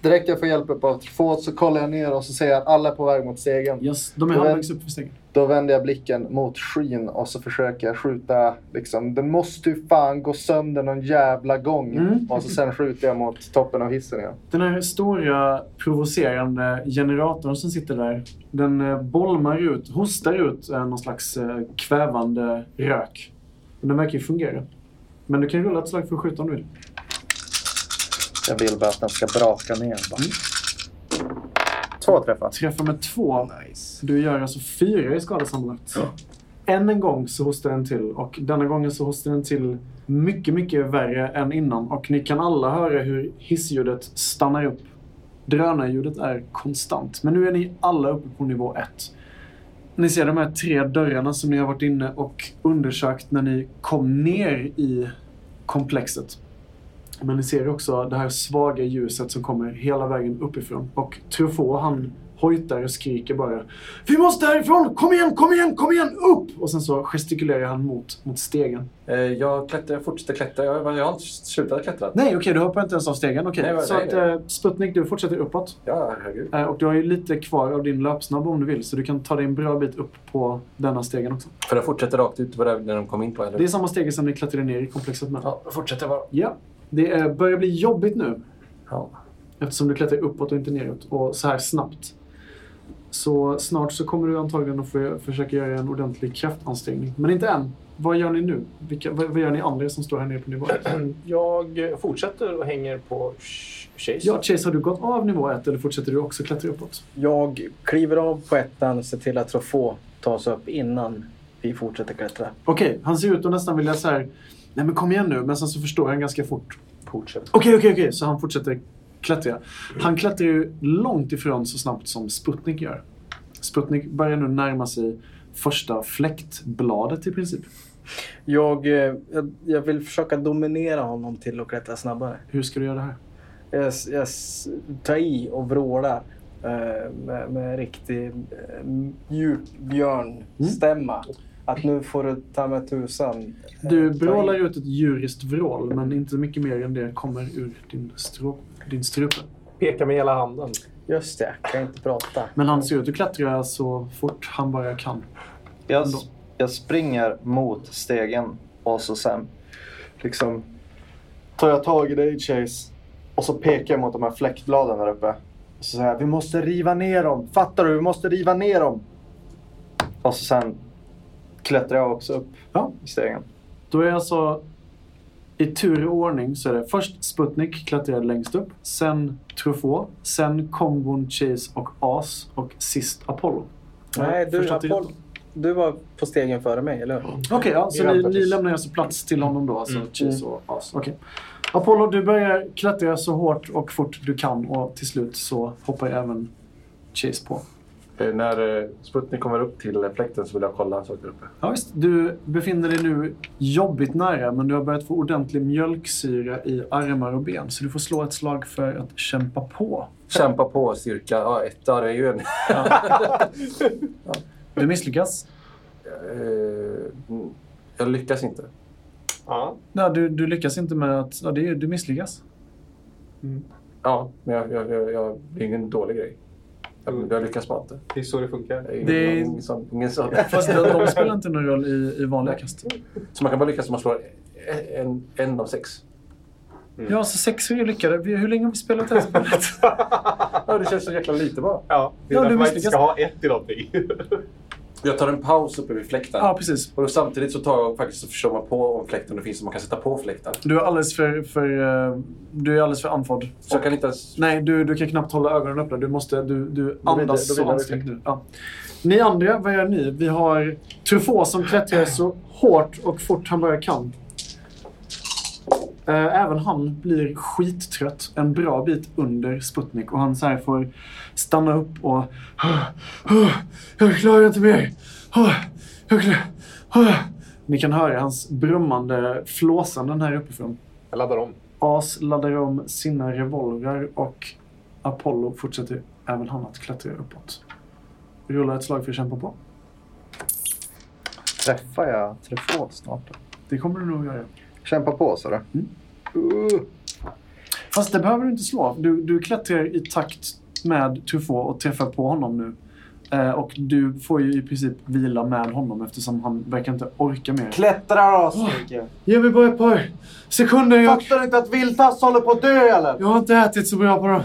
Direkt jag får hjälp upp av Truffaut så kollar jag ner och så ser jag att alla är på väg mot stegen. Yes, de är Du vet- halvvägs upp för stegen. Då vänder jag blicken mot skyn och så försöker jag skjuta. Liksom, den måste ju fan gå sönder någon jävla gång. Mm. Och så sen skjuter jag mot toppen av hissen igen. Den här stora provocerande generatorn som sitter där, den eh, bolmar ut, hostar ut eh, någon slags eh, kvävande rök. Och Den verkar ju fungera. Men du kan rulla ett slag för att skjuta om du vill. Jag vill bara att den ska braka ner. Bara. Två träffar. Träffar med två. Du gör alltså fyra i skada sammanlagt. Än en gång så hostar den till och denna gången så hostar den till mycket, mycket värre än innan. Och ni kan alla höra hur hissljudet stannar upp. Drönarljudet är konstant. Men nu är ni alla uppe på nivå ett. Ni ser de här tre dörrarna som ni har varit inne och undersökt när ni kom ner i komplexet. Men ni ser också det här svaga ljuset som kommer hela vägen uppifrån. Och Truffaut han hojtar och skriker bara Vi måste härifrån! Kom igen, kom igen, kom igen! Upp! Och sen så gestikulerar han mot, mot stegen. Eh, Jag, klättrar, jag fortsätter klättra. Jag, jag har inte slutat klättra. Nej, okej, du hoppar inte ens av stegen. Okej, Nej, vad- så nej, att nej. eh, Sputnik, du fortsätter uppåt. Ja, herregud. Eh, och du har ju lite kvar av din löpsnabb om du vill, så du kan ta dig en bra bit upp på denna stegen också. För jag fortsätter rakt ut på det när de kom in på. Eller? Det är samma stege som ni klättrade ner i komplexet med. Ja, fortsätter bara. Ja, det eh, börjar bli jobbigt nu. Ja. Eftersom du klättrar uppåt och inte neråt och så här snabbt. Så snart så kommer du antagligen att få försöka göra en ordentlig kraftansträngning. Men inte än. Vad gör ni nu? Vilka, vad, vad gör ni andra som står här nere på nivå 1? Jag fortsätter och hänger på sh- Chase. Ja, Chase, har du gått av nivå 1 eller fortsätter du också klättra uppåt? Jag kliver av på ettan och ser till att Truffaut tar sig upp innan vi fortsätter klättra. Okej, han ser ut att nästan vilja så här... Nej men kom igen nu, men sen så förstår han ganska fort. Fortsätt. Okej, okej, okej, så han fortsätter klättra. Han klättrar ju långt ifrån så snabbt som Sputnik gör. Sputnik börjar nu närma sig första fläktbladet i princip. Jag, eh, jag, jag vill försöka dominera honom till att klättra snabbare. Hur ska du göra det här? Jag, s- jag s- tar i och vrålar eh, med, med riktig eh, djup björnstämma. Att nu får du ta med tusan. eh, Du ta i. brålar ut ett djuriskt vrål, men inte mycket mer än det kommer ur din, strå, din strupe. Pekar med hela handen. Just det, jag kan inte prata. Men han ser ut att klättra så fort han bara kan. Jag, jag springer mot stegen och så sen liksom tar jag tag i dig Chase och så pekar jag mot de här fläktbladen där uppe. Och så säger jag, vi måste riva ner dem. Fattar du? Vi måste riva ner dem. Och så sen klättrar jag också upp Ja. i stegen. Då är alltså i tur och ordning så är det först Sputnik klättrade längst upp, sen Truffaut, sen kombon Chase och As och sist Apollo. Nej, du, Förstått det Apollo, du var på stegen före mig, eller hur? Okej, ja, så Vi ni, väntar ni tills- lämnar alltså plats till honom då, Mm. alltså Chase och As. Okej. Apollo, du börjar klättra så hårt och fort du kan och till slut så hoppar även Chase på. Eh, När eh, Sputnik kommer upp till eh, fläkten så vill jag kolla saker uppe. Ja, visst. Du befinner dig nu jobbigt nära, men du har börjat få ordentlig mjölksyra i armar och ben. Så du får slå ett slag för att kämpa på. Kämpa på styrka. Ja, etta det är ju en... Du misslyckas. Eh, mm, jag lyckas inte. Ja. Nej, du, du lyckas inte med att... Ja, det är, du misslyckas. Ja, men jag, jag, jag, jag, det är ingen dålig grej. Jag, jag lyckas bara inte. Det är så det funkar. Jag är Ingen, Det är- ingen sån, ingen sån. Fast de, de spelar inte någon roll i, i vanliga kast. Så man kan bara lyckas om man slår en, en, en av sex. Ja, så sex är ju lyckade. Vi- Hur länge har vi spelat det här spelet? Ja, det känns så jäkla lite bara. Ja, det är Ja, du därför man inte misslyckas. ska ha ett i någonting. Jag tar en paus uppe vid fläkten. Ja, precis. Och då samtidigt så tar jag faktiskt och förstår man på om fläkten det finns så man kan sätta på fläkten. Du är alldeles för, för, eh, du är alldeles för andfådd. Så jag kan inte ens... Nej, du, du kan knappt hålla ögonen öppna. Du, måste, du, du blir det- andas då så blir det ansträngt nu. Ja. Ni andra, vad gör ni? Vi har Truffaut som klättrar så hårt och fort han bara kan. Eh, Även han blir skittrött en bra bit under Sputnik och han så här får stanna upp och... "Ah, Jag klarar inte mer! Ah, Jag klarar... Ni kan höra hans brummande flåsanden här uppifrån. Jag laddar om. As laddar om sina revolvrar och Apollo fortsätter även han att klättra uppåt. Rulla ett slag för att kämpa på. Träffar jag Truffaut snart? då? Det kommer du nog göra. Kämpa på, sa du? Uh, Fast det behöver du inte slå. Du, du klättrar i takt med Truffaut och träffar på honom nu. Eh, och du får ju i princip vila med honom eftersom han verkar inte orka mer. Klättrar asmycket. Ge mig bara ett par sekunder. Jag, Fattar du inte Typ att Viltas håller på att dö eller? jag har inte ätit så bra på den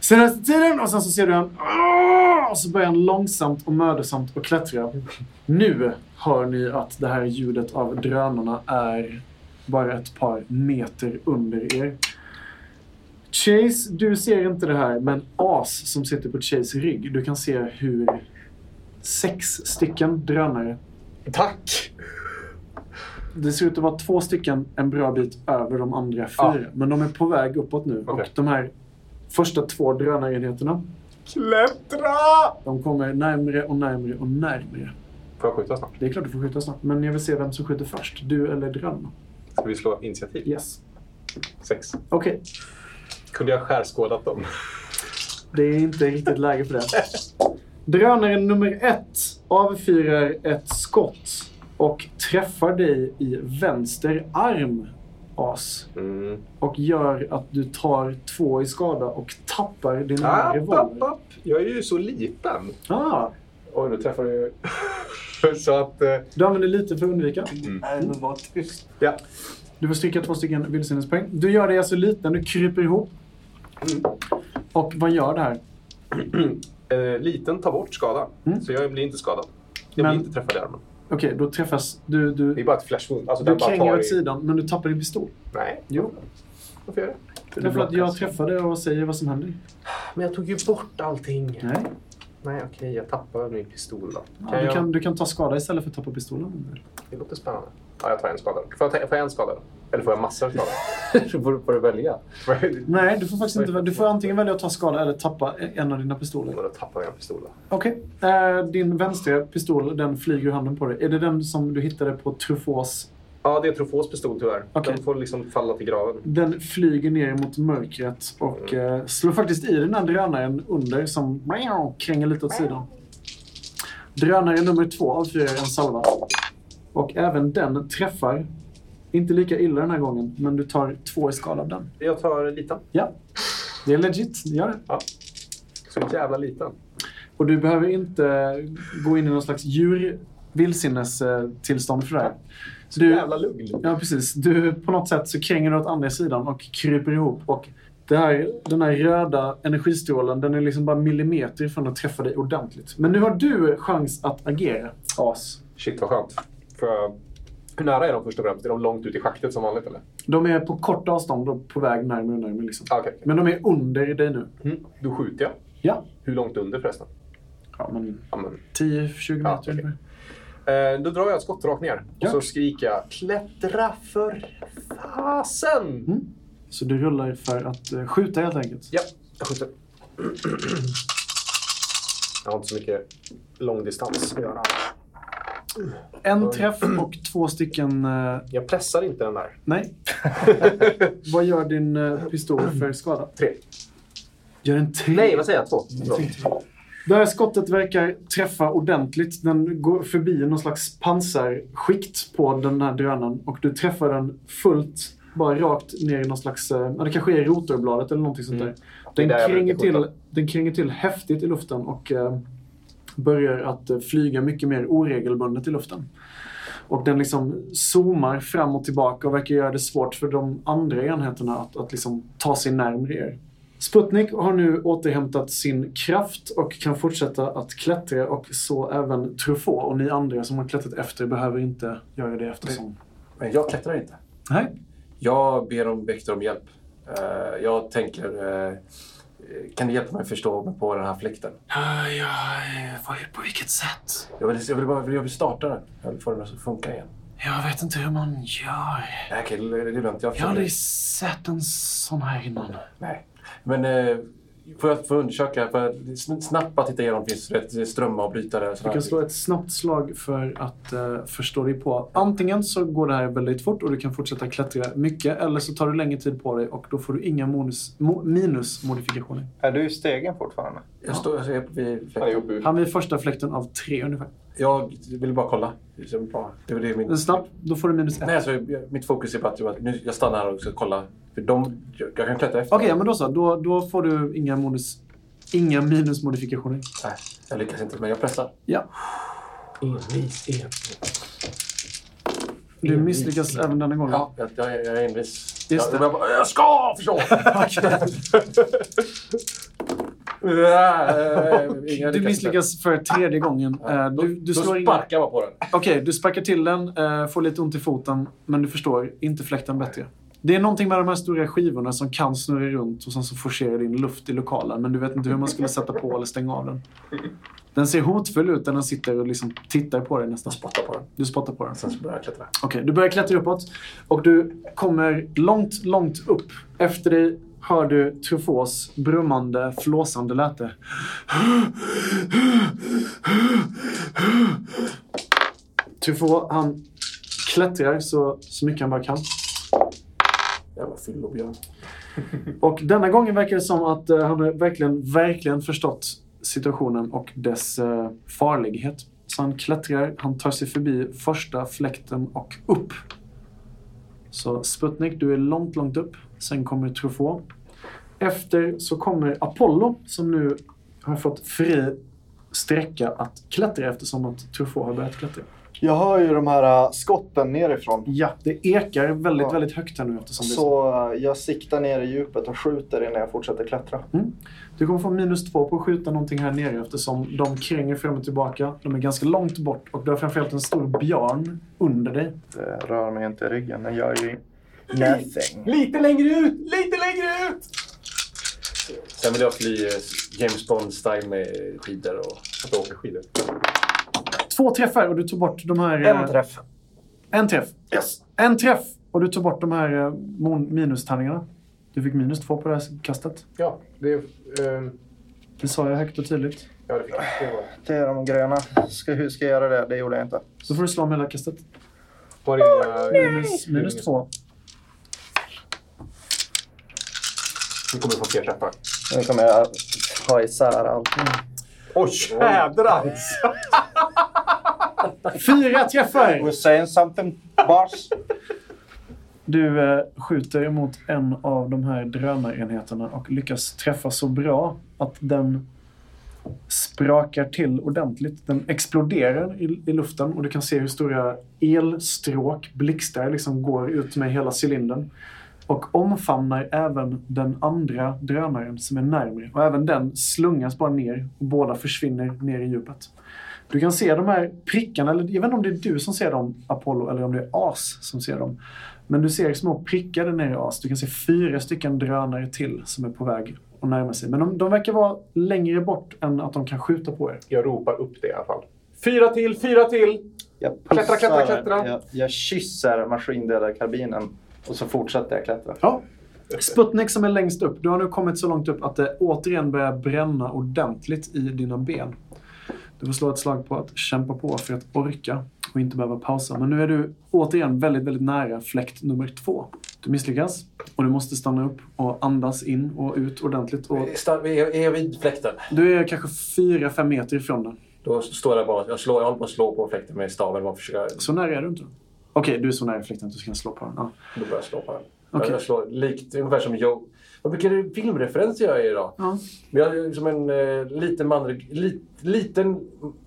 senaste tiden. Och sen så ser du han... "Åh!" Och så börjar han långsamt och mödosamt att klättra. Nu hör ni att det här ljudet av drönarna är bara ett par meter under er. Chase, du ser inte det här, men As som sitter på Chase rygg, du kan se hur sex stycken drönare Tack! Det ser ut att vara två stycken en bra bit över de andra fyra. Men de är på väg uppåt nu. Och de här första två drönarenheterna, Klättra! de kommer närmre och närmre och närmre. Får jag skjuta snart? Det är klart du får skjuta snart, men jag vill se vem som skjuter först. Du eller drönarna. Ska vi slå initiativ? Yes. Sex. Okej, Kunde jag skärskådat dem? det är inte riktigt läge för det. Drönaren nummer ett avfyrar ett skott och träffar dig i vänster arm, As. Mm. och gör att du tar två i skada och tappar din ah, App, app, revolver. app. Jag är ju så liten. Ah, Oj, nu träffar jag ju... så att... eh, du använder lite för att undvika. Nej, men var tyst. Ja. Du får stryka två stycken vildsinnespoäng. Du gör dig alltså liten, du kryper ihop. Mm. Och vad gör det här? Eh, liten tar bort skada. Mm. Så jag blir inte skadad. Jag Men- blir inte träffad i armen. Okej, då träffas du. Det är Du, bara ett flash wound. Alltså, du den bara kränger tar i... åt sidan, men du tappar din pistol. Nej, Jo, varför gör jag det? därför att jag träffade och säger vad som händer. Men jag tog ju bort allting. Nej, Nej, okej. jag tappar min pistol då. Kan du, jag... kan, du kan ta skada istället för att tappa pistolen. Det låter spännande. Ja, jag tar en skada. Får jag, ta... får jag en skada då? Eller får jag massor av skada? så får du- får du välja. Nej, du får faktiskt inte. Du får antingen välja att ta skada eller tappa e- en av dina pistoler. Och då tappar jag en pistol då. Okej. Eh, din vänstra pistol, den flyger ur handen på dig. Är det den som du hittade på Truffauts? Ja, det är Truffaut's pistol tyvärr. Okej. Den får liksom falla till graven. Den flyger ner mot mörkret och eh, slår faktiskt i den här drönaren under som meow, kränger lite åt sidan. Drönare nummer två avfyrar en salva. Och även den träffar. Inte lika illa den här gången, men du tar två i skala av den. Jag tar liten. Ja, det är legit. Gör det. Så jävla liten. Och du behöver inte gå in i någon slags djur vildsinnestillstånd för det här. Så du, Jävla lugn. Ja, precis. Du på något sätt så kränger du åt andra sidan och kryper ihop. Och det här, den här röda energistrålen, den är liksom bara millimeter från att träffa dig ordentligt. Men nu har du chans att agera, As. Shit vad skönt. Får jag... Hur nära är de först och främst? Är de långt ut i schaktet som vanligt eller? De är på kort avstånd och på väg närmare och närmare. Liksom. Ah, Okej. okej. Men de är under dig nu. Mm. Då skjuter jag. Ja. Hur långt under förresten? Ja, men Ja, men. 10-20 meter Ja, okej. ungefär. Eh, då drar jag ett skott rakt ner. Ja. Och så skriker jag klättra för fasen! Mm. Så du rullar för att eh, skjuta helt enkelt. Ja, jag skjuter. Jag har inte så mycket långdistans att göra. En träff och två stycken... eh, Jag pressar inte den där. nej. Vad gör din eh, pistol för skada? Tre. Gör en tre? Nej, vad säger jag? Två. Förlåt. Det här skottet verkar träffa ordentligt. Den går förbi någon slags pansarskikt på den här drönaren och du träffar den fullt, bara rakt ner i någon slags, eh, ja det kanske är rotorbladet eller någonting sånt där. Den, Mm. Det är där jag kränger brukar skjuta. till, den kränger till häftigt i luften och eh, börjar att eh, flyga mycket mer oregelbundet i luften. Och den liksom zoomar fram och tillbaka och verkar göra det svårt för de andra enheterna att, att liksom ta sig närmare er. Sputnik har nu återhämtat sin kraft och kan fortsätta att klättra och så även Truffaut och ni andra som har klättrat efter behöver inte göra det eftersom... Men jag klättrar inte. Nej. Jag ber om Victor om hjälp. Eh, jag tänker... eh, kan du hjälpa mig förstå mig på den här fläkten? Vad, på vilket sätt? Jag vill, jag vill bara jag vill starta den. Jag vill få den att funka igen. Jag vet inte hur man gör. Nej, okej, det är lugnt. Jag Jag har försöker. aldrig sett en sån här innan. Nej. Men eh, får jag få undersöka? För sn- snabbt bara titta igenom. Finns det rätt strömavbrytare? Du kan slå ett snabbt slag för att eh, förstå dig på. Antingen så går det här väldigt fort och du kan fortsätta klättra mycket. Eller så tar du längre tid på dig och då får du inga bonus, mo, minusmodifikationer. Är du i stegen fortfarande? Jag står jag är vid Han är fläkten. uppe Han vid första fläkten av tre ungefär. Jag vill bara kolla. Det är bra. Det var det min... En snabb, då får du minus ett. Nej, Okej, alltså, jag- mitt fokus är på att jag, nu, jag stannar här och ska kolla. För de, jag jag kan klättra efter. ja, men då så. Då, då får du inga, bonus, inga minusmodifikationer. Nej, jag lyckas inte, men jag pressar. Ja. Envis, envis. Du misslyckas även denna gången. Ja, jag, jag, jag är envis. Just jag, det. Jag, bara, jag ska förstå! Äh, inga Du misslyckas för tredje gången. Eh, Du, du Då slår sparkar in... jag bara på den. Okej, du sparkar till den, eh, får lite ont i foten, men du förstår inte fläkten bättre. Det är någonting med de här stora skivorna som kan snurra runt och sen så forcerar din luft i lokalen, men du vet inte hur man skulle sätta på eller stänga av den. Den ser hotfull ut när den sitter och liksom tittar på dig nästan. Spottar på den. Du spottar på den. Sen så börjar jag klättra. Okej, du börjar klättra uppåt och du kommer långt, långt upp. Efter dig hör du Truffauts brummande, flåsande läte. Truffaut, han klättrar så, så mycket han bara kan. Jävla fyllobjörn. Och denna gången verkar det som att eh, han har verkligen, verkligen förstått situationen och dess eh, farlighet. Så han klättrar, han tar sig förbi första fläkten och upp. Så Sputnik, du är långt, långt upp. Sen kommer Truffaut. Efter så kommer Apollo som nu har fått fri sträcka att klättra eftersom att Truffaut har börjat klättra. Jag hör ju de här äh, skotten nerifrån. Ja, det ekar väldigt, Ja. väldigt högt här nu eftersom det är så. Så äh, jag siktar ner i djupet och skjuter innan jag fortsätter klättra. Du kommer få minus två på att skjuta någonting här nere eftersom de kränger fram och tillbaka. De är ganska långt bort och du har framförallt en stor björn under dig. Det rör mig inte i ryggen. Den gör ju nothing. Lite längre ut! Lite längre ut! Sen vill jag fly eh, James Bond-style med skidor och att åka skidor. Två träffar och du tar bort de här... eh, En träff. En träff. En träff! Och du tar bort de här eh, mon- minustärningarna. Du fick minus två på det här kastet. Ja, det... ehm, Det sa jag högt och tydligt. ja, det fick jag. Det var- Det är de gröna. Ska, hur ska jag göra det? Det gjorde jag inte. Så får du slå om hela kastet. Var det inga... Minus, minus två. Nu kommer du få fler träffar. Nu kommer jag ta isär allting. Oj, jädrar! Fyra träffar! We're saying something, boss. Du eh, skjuter mot en av de här drömarenheterna och lyckas träffa så bra att den sprakar till ordentligt. Den exploderar i, i luften och du kan se hur stora elstråk, blixtar, liksom går ut med hela cylindern. Och omfamnar även den andra drönaren som är närmare. Och även den slungas bara ner och båda försvinner ner i djupet. Du kan se de här prickarna, eller jag vet inte om det är du som ser dem, Apollo, eller om det är As som ser dem. Men du ser små prickar där nere i As. Du kan se fyra stycken drönare till som är på väg att närma sig. Men de, de verkar vara längre bort än att de kan skjuta på er. Jag ropar upp det i alla fall. Fyra till, fyra till! Jag Klättra, pussar klättra, den. klättra. Jag, jag kysser maskindelarkarbinen och så fortsätter jag klättra. Ja. Sputnik som är längst upp. Du har nu kommit så långt upp att det återigen börjar bränna ordentligt i dina ben. Du får slå ett slag på att kämpa på för att orka och inte behöva pausa. Men nu är du återigen väldigt, väldigt nära fläkt nummer två. Du misslyckas och du måste stanna upp och andas in och ut ordentligt. Och Sta- Är jag är jag vid fläkten? du är kanske fyra fem meter ifrån den. Då står jag bara jag, slår, jag håller på att slå på fläkten med staven. Man försöker, Så nära är du inte. Okej, du är så nära fläkten att du kan slå på den. Ja. då börjar jag slå på den. Okej. Jag slår likt, ungefär som Joe. Vad mycket filmreferenser jag är idag. Ja. Men jag är som en eh, liten, man, li, liten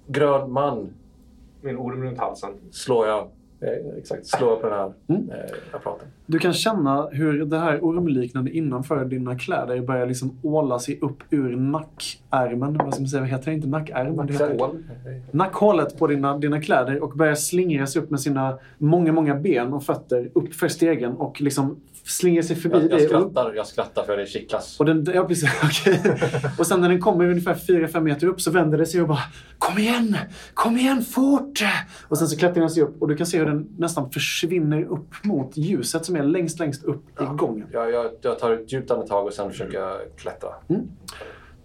grön man Min orm runt halsen. slår jag Eh, exakt, slå på den här Mm. eh, apparaten. Du kan känna hur det här ormliknande innanför dina kläder börjar liksom åla sig upp ur nackärmen. Vad ska man säga? Vad heter det? Inte nackärmen. Det heter Hål. nackhålet på dina, dina kläder och börjar slingra sig upp med sina många, många ben och fötter upp för stegen och liksom slingra sig förbi Jag, jag dig och upp. skrattar, jag skrattar för det Eh, kittlas. Och, den, ja, precis, okej. och sen när den kommer ungefär 4-5 meter upp så vänder den sig och bara Kom igen! Kom igen fort! Och sen så klättrar den sig upp och du kan se hur den nästan försvinner upp mot ljuset som är längst, längst upp i gången. Jag, jag, jag tar ett djupt andetag och sen försöker jag klättra.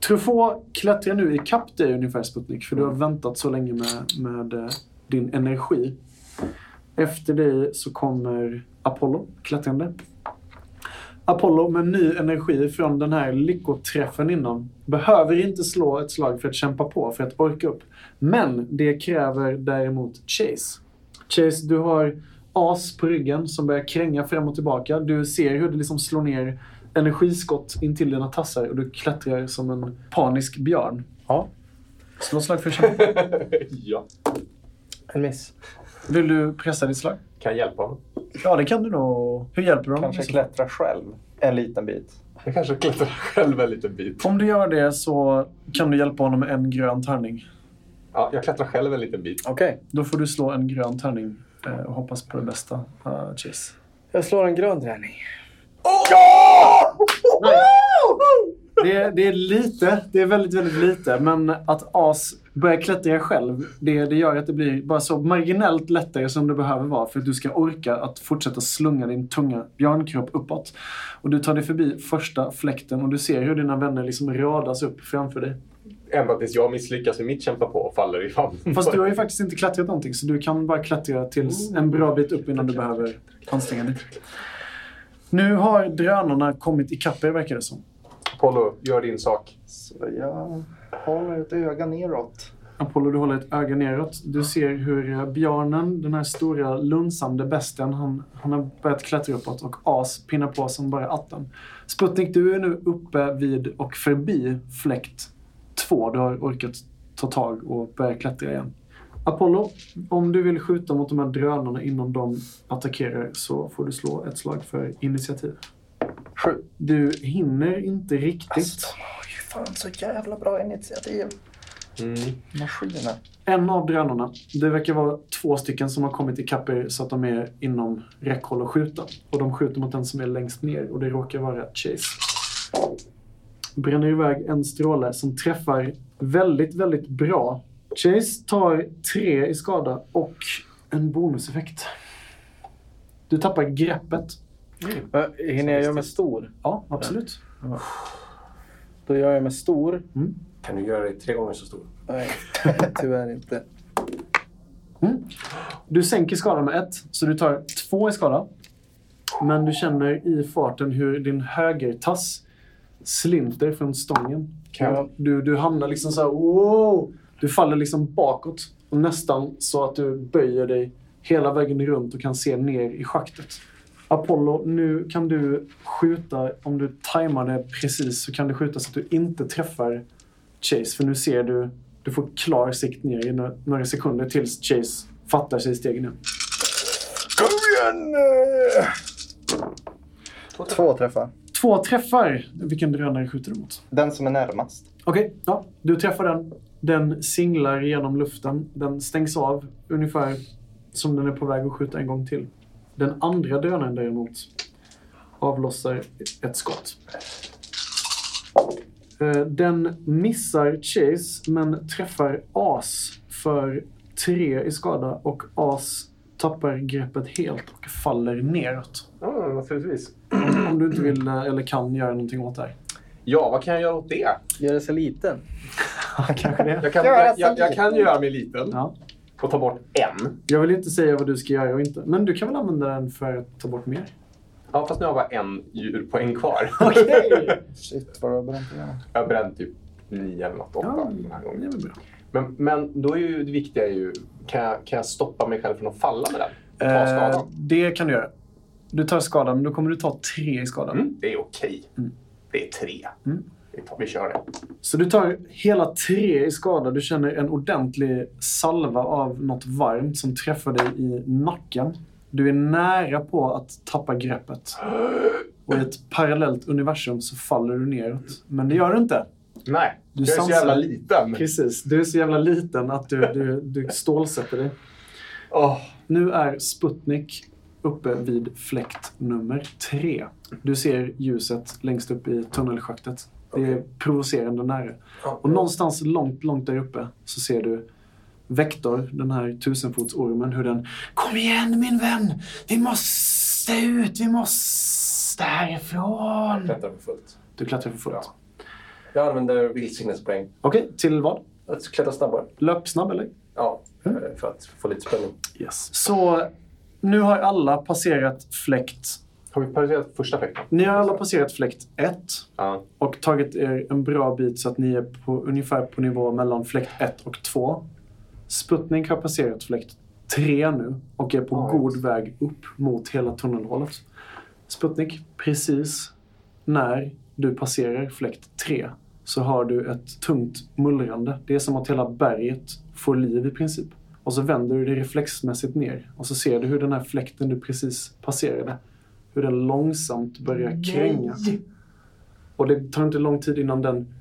Truffaut klättrar nu i kapp dig ungefär Sputnik, för du har väntat så länge med, med eh, din energi. Efter dig så kommer Apollo klättrande. Apollo med ny energi från den här lyckoträffen innan behöver inte slå ett slag för att kämpa på, för att orka upp. Men det kräver däremot Chase. Chase, du har as på ryggen som börjar kränga fram och tillbaka. Du ser hur det liksom slår ner energiskott in till dina tassar och du klättrar som en panisk björn. Ja. Slå slag för kämpa. ja. En miss. Vill du pressa ditt slag? Kan jag hjälpa honom? Ja, det kan du nog. Hur hjälper du Kanske honom? klättra själv en liten bit. Jag kanske klättrar själv en liten bit. Om du gör det så kan du hjälpa honom med en grön tärning. Ja, jag klättrar själv en liten bit. Okej. Då får du slå en grön tärning eh, och hoppas på det bästa. Uh, Chase. Jag slår en grön träning. Det, är- det är lite. Det är väldigt, väldigt lite. Men att As börjar klättra själv, det, det gör att det blir bara så marginellt lättare som det behöver vara för att du ska orka att fortsätta slunga din tunga björnkropp uppåt. Och du tar dig förbi första fläkten och du ser hur dina vänner liksom radas upp framför dig. Ända tills jag misslyckas med mitt kämpa på och faller i famnen. Fast du har ju faktiskt inte klättrat någonting så du kan bara klättra tills en bra bit upp innan du behöver anstränga dig. Nu har drönarna kommit ikapp er verkar det som. Apollo, gör din sak. Så jag håller ett öga neråt. Apollo, du håller ett öga neråt. Du ser hur eh, björnen, den här stora lunsande besten, han, han har börjat klättra uppåt och As pinnar på som bara atten. Sputnik, du är nu uppe vid och förbi fläkt två. Du har orkat ta tag och börja klättra igen. Apollo, om du vill skjuta mot de här drönarna innan de attackerar så får du slå ett slag för initiativ. Sju. Du hinner inte riktigt. Fan, så jävla bra initiativ. Maskiner. En av drönarna, det verkar vara två stycken som har kommit ikapp er så att de är inom räckhåll att skjuta. Och de skjuter mot den som är längst ner och det råkar vara Chase. Bränner iväg en stråle som träffar väldigt, väldigt bra. Chase tar tre i skada och en bonuseffekt. Du tappar greppet. Ö, Hinner jag göra mig stor? Ja, absolut. Då gör jag mig stor. Kan du göra dig tre gånger så stor? Nej, tyvärr inte. Mm. Du sänker skadan med ett, så du tar två i skada. Men du känner i farten hur din högertass slinter från stången. Ja. Du, du hamnar liksom så här, wow! Du faller liksom bakåt. Och nästan så att du böjer dig hela vägen runt och kan se ner i schaktet. Apollo, nu kan du skjuta, om du tajmar det precis, så kan du skjuta så att du inte träffar Chase. För nu ser du, du får klar sikt ner i några, några sekunder tills Chase fattar sig i stegen igen. Två träffar. Två träffar. Vilken drönare skjuter du mot? Den som är närmast. Okej, ja. Du träffar den. Den singlar genom luften. Den stängs av ungefär som den är på väg att skjuta en gång till. Den andra drönaren däremot avlossar ett skott. Eh, Den missar Chase men träffar As för tre i skada och As tappar greppet helt och faller neråt. Ja, naturligtvis. Om du inte vill eh, eller kan göra någonting åt det här. Ja, vad kan jag göra åt det? Gör det så liten. Kanske det. Jag kan, Göra jag, jag, så jag kan göra mig liten Ja. och ta bort en. Jag vill inte säga vad du ska göra och inte. Men du kan väl använda den för att ta bort mer? Ja, fast nu har jag bara en djurpoäng kvar. Shit, vad du har bränt igenom. jag brände typ nio eller något, åtta Ja, den här det gången. är väl bra. Men, men då är ju det viktiga ju, kan jag, kan jag stoppa mig själv från att falla med den? Ta skadan? Eh, det kan du göra. mm. Du tar skada, men då kommer du ta tre i skada. Mm, det är okej. Det är tre. Vi, tar, vi kör det. Så du tar hela tre i skada. Du känner en ordentlig salva av något varmt som träffar dig i nacken. Du är nära på att tappa greppet. Och i ett parallellt universum så faller du neråt. Men det gör du inte. Nej, Du jag är så sansar. jävla liten. Precis. Du är så jävla liten att du, du, du stålsätter dig. Åh, Nu är Sputnik uppe vid fläkt nummer tre. Du ser ljuset längst upp i tunnelschaktet. Det är provocerande nära. Och någonstans långt, långt där uppe så ser du Vektor, den här tusenfotsormen, hur den Kom igen min vän! Vi måste ut! Vi måste härifrån! Klättrar för fullt. Du klättrar för fullt. Ja. Jag använder vildsinnespoäng. Okej, till vad? Att klättra snabbare. Löpsnabb eller? Ja, eh, för att få lite spänning. Yes. Så nu har alla passerat fläkt. har vi passerat första fläkten? Ni har alla passerat fläkt 1. Ja. och tagit er en bra bit så att ni är på, ungefär på nivå mellan fläkt 1 och 2. Sputnik har passerat fläkt 3 nu och är på god väg upp mot hela tunnelhålet. Sputnik, precis när du passerar fläkt 3 så har du ett tungt mullrande. Det är som att hela berget får liv i princip. Och så vänder du dig reflexmässigt ner och så ser du hur den här fläkten du precis passerade, hur den långsamt börjar kränga. Och det tar inte lång tid innan den...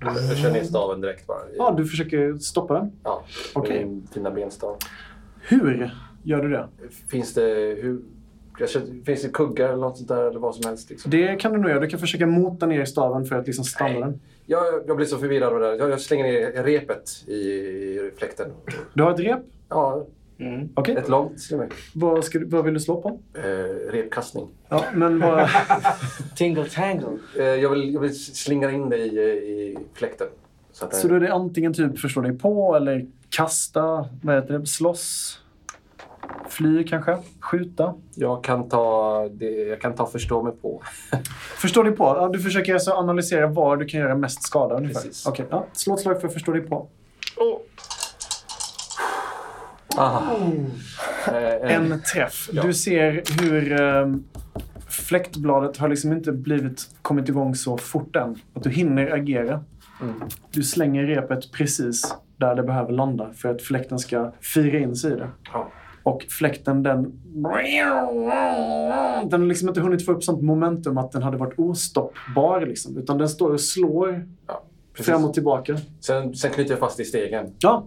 Jag kör ner staven direkt bara. i- Ja, du försöker stoppa den. Ja, Okej. okay. min fina benstav. Hur gör du det? Finns det, hur, jag känner, finns det kuggar eller något sånt där eller vad som helst? Liksom? Det kan du nog göra. Du kan försöka mota ner staven för att liksom stanna Nej. den. Jag, jag blir så förvirrad av det där. Jag, jag slänger ner repet i, i fläkten. Du har ett rep. Ja, Okej. ett långt till och med. Vad, ska du, vad vill du slå på? Eh, repkastning. Ja, men vad... Tingle tangle. Eh, jag, vill, jag vill slingra in dig i, i fläkten. Så att, eh, Så då är det antingen typ förstå dig på eller kasta, vad heter det, slåss, fly kanske, skjuta. jag, kan ta, det, jag kan ta förstå mig på. Förstå dig på? Ja, du försöker alltså analysera var du kan göra mest skada ungefär. Precis. Okej, ja. slå ett slag för förstå dig på. Ah. Eh, en, En träff. Du ser hur eh, fläktbladet har liksom inte blivit, kommit igång så fort än. Att du hinner agera. Mm. Du slänger repet precis där det behöver landa för att fläkten ska fira in sig i det. Ja. Och fläkten den... Den har liksom inte hunnit få upp sånt momentum att den hade varit ostoppbar. Liksom, utan den står och slår precis. fram och tillbaka. sen, sen knyter jag fast i stegen. Ja.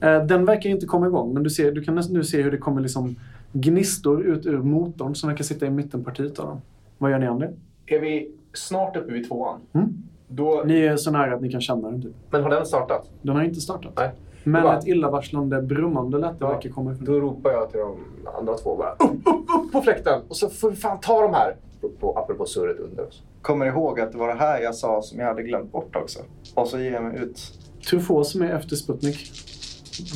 Eh, Den verkar inte komma igång, men du, ser, du kan nästan nu se hur det kommer liksom gnistor ut ur motorn som verkar sitta i mittenpartiet av dem. Vad gör ni andra? Är vi snart uppe vid tvåan? Mm. Då, Ni är så nära att ni kan känna den. Typ. men har den startat? Den har inte startat. Nej. Men Va? ett illavarslande brummande lätt Ja. verkar komma ifrån. Då ropar jag till de andra två bara. Upp, upp, upp på fläkten! Och så får vi fan ta de här. Apropå, apropå surret under oss. Kommer ihåg att det var det här jag sa som jag hade glömt bort också. Och så ger jag mig ut. Truffaut som är efter Sputnik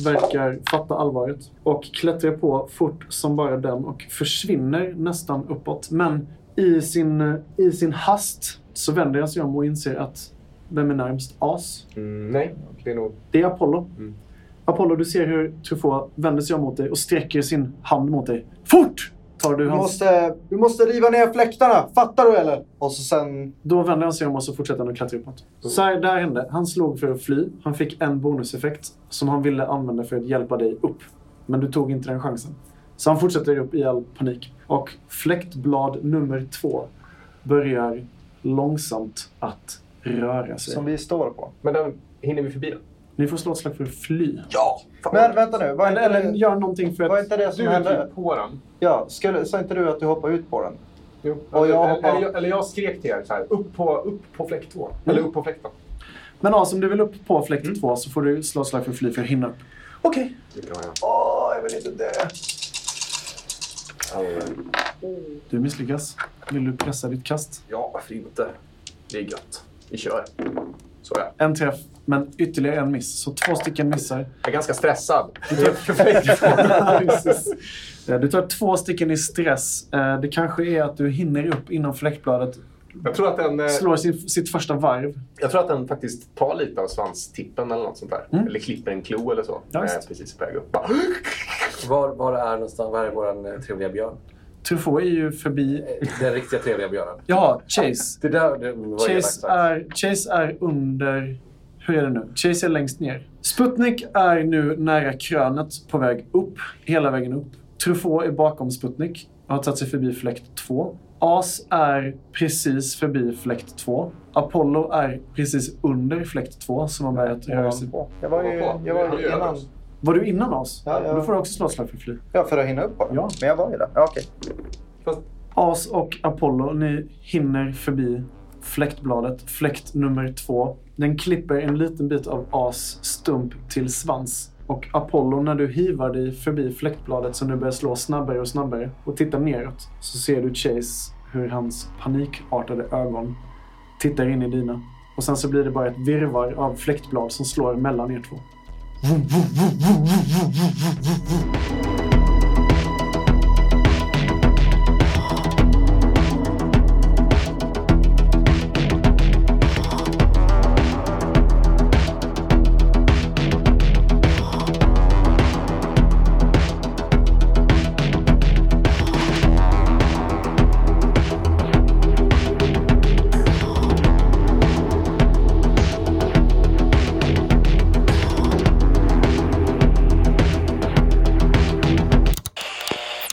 verkar fatta allvaret och klättrar på fort som bara den och försvinner nästan uppåt. Men i sin, i sin hast så vänder han sig om och inser att vem är närmst? As. Mm, nej, det är nog... Det är Apollo. Mm. Apollo, du ser hur Truffaut vänder sig om mot dig och sträcker sin hand mot dig. Fort! Tar du Du hans... måste, du måste riva ner fläktarna, fattar du eller? Och så sen... Då vänder han sig om och så fortsätter han att klättra uppåt. Så här, där hände. Han slog för att fly. Han fick en bonuseffekt som han ville använda för att hjälpa dig upp. Men du tog inte den chansen. Så han fortsätter upp i all panik. Och fläktblad nummer två börjar långsamt att röra sig. Som vi står på. Men den, hinner vi förbi den? Ni får slå ett slag för att fly. Ja! Fan. Men vänta nu, var Eller, inte eller det, gör någonting för att... var inte det som du är hände? typ på den. Ja, skulle, sa inte du att du hoppade ut på den? Jo. Och jag eller, hoppar- Mm. eller, jag, eller jag skrek till er så här. Upp på, upp på fläkt två. Eller upp på fläkten. Men ja, om du vill upp på fläkt 2 så får du slå ett slag för att fly för att hinna upp. Okej. Åh, jag vill inte dö. Du misslyckas. Vill du pressa ditt kast? Ja, varför inte? Det är gött. Vi kör. Så ja. En träff, men ytterligare en miss. Så två stycken missar. Jag är ganska stressad. Precis. Eh, du tar två stycken i stress. Eh, Det kanske är att du hinner upp innan fläktbladet Jag tror att den, eh, slår sin, sitt första varv. jag tror att den faktiskt tar lite av svanstippen eller något sånt där. Mm. Eller klipper en klo eller så. Eh, Ja, när jag visst. är precis på väg upp. Bara, Var, var är någonstans, var är vår eh, trevliga björn? Eh, Truffaut är ju förbi... Den riktiga trevliga björnen. Ja, Chase. Det där det var elakt Chase sagt. är, Chase är under... Hur är det nu? Chase är längst ner. Sputnik är nu nära krönet på väg upp. Hela vägen upp. Truffaut är bakom Sputnik och har tagit sig förbi fläkt 2. As är precis förbi fläkt 2. Apollo är precis under fläkt 2 som har börjat röra sig. Jag var ju jag var ju innan. Var du innan As? Ja, ja. Då får du också slå ett slag för fly. Ja, för att hinna upp bara. Ja. Men jag var ju där. Ja, okej. As och Apollo, ni hinner förbi fläktbladet, fläkt nummer två. Den klipper en liten bit av As stump till svans. Och Apollo, när du hivar dig förbi fläktbladet som nu börjar slå snabbare och snabbare och tittar neråt så ser du Chase hur hans panikartade ögon tittar in i dina. Och sen så blir det bara ett virvar av fläktblad som slår mellan er två.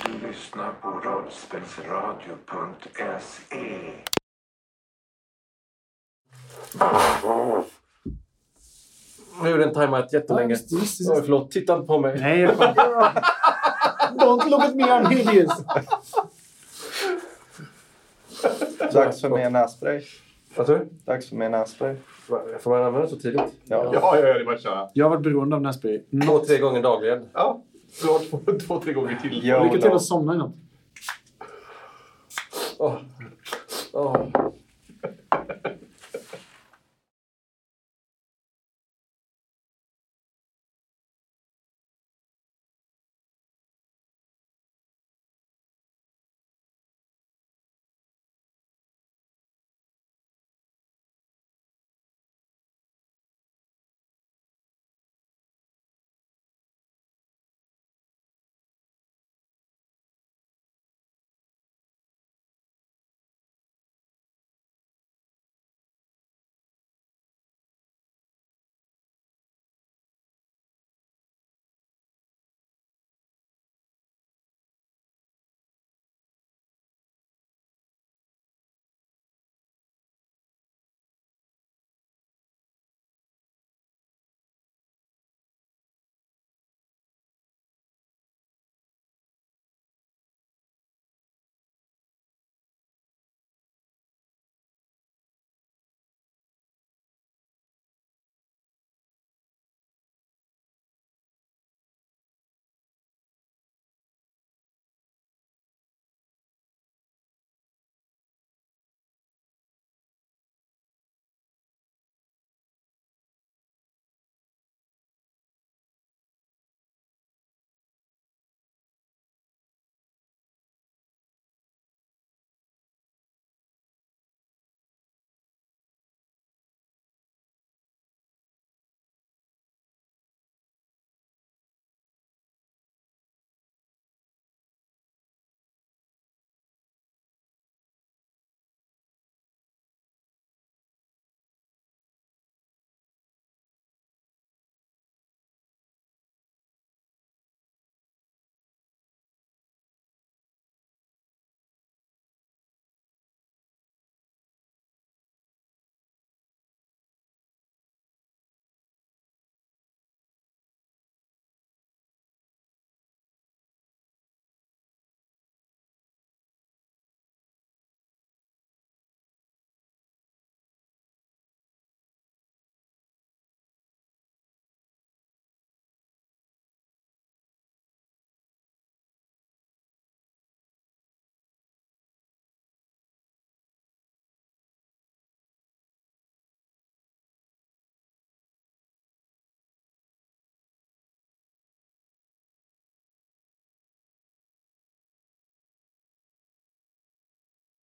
Du lyssnar på rollspelsradio.se. Nu är den tajmat Ja, jättelänge. just det, just det, just Oj, förlåt, titta inte på mig. Nej, fan. Don't look at me, I'm hideous. Dags för mer nässpray. Vad sa du? Dags för mer nässpray. Va- Får man använda den så tidigt? Ja. Ja, ja, ja, det är bara att köra. Jag har varit beroende av nässpray. Två, tre gånger dagligen. Ja, du har två, två tre gånger till. Ja, Lycka till då. att somna i natt. Åh. Åh.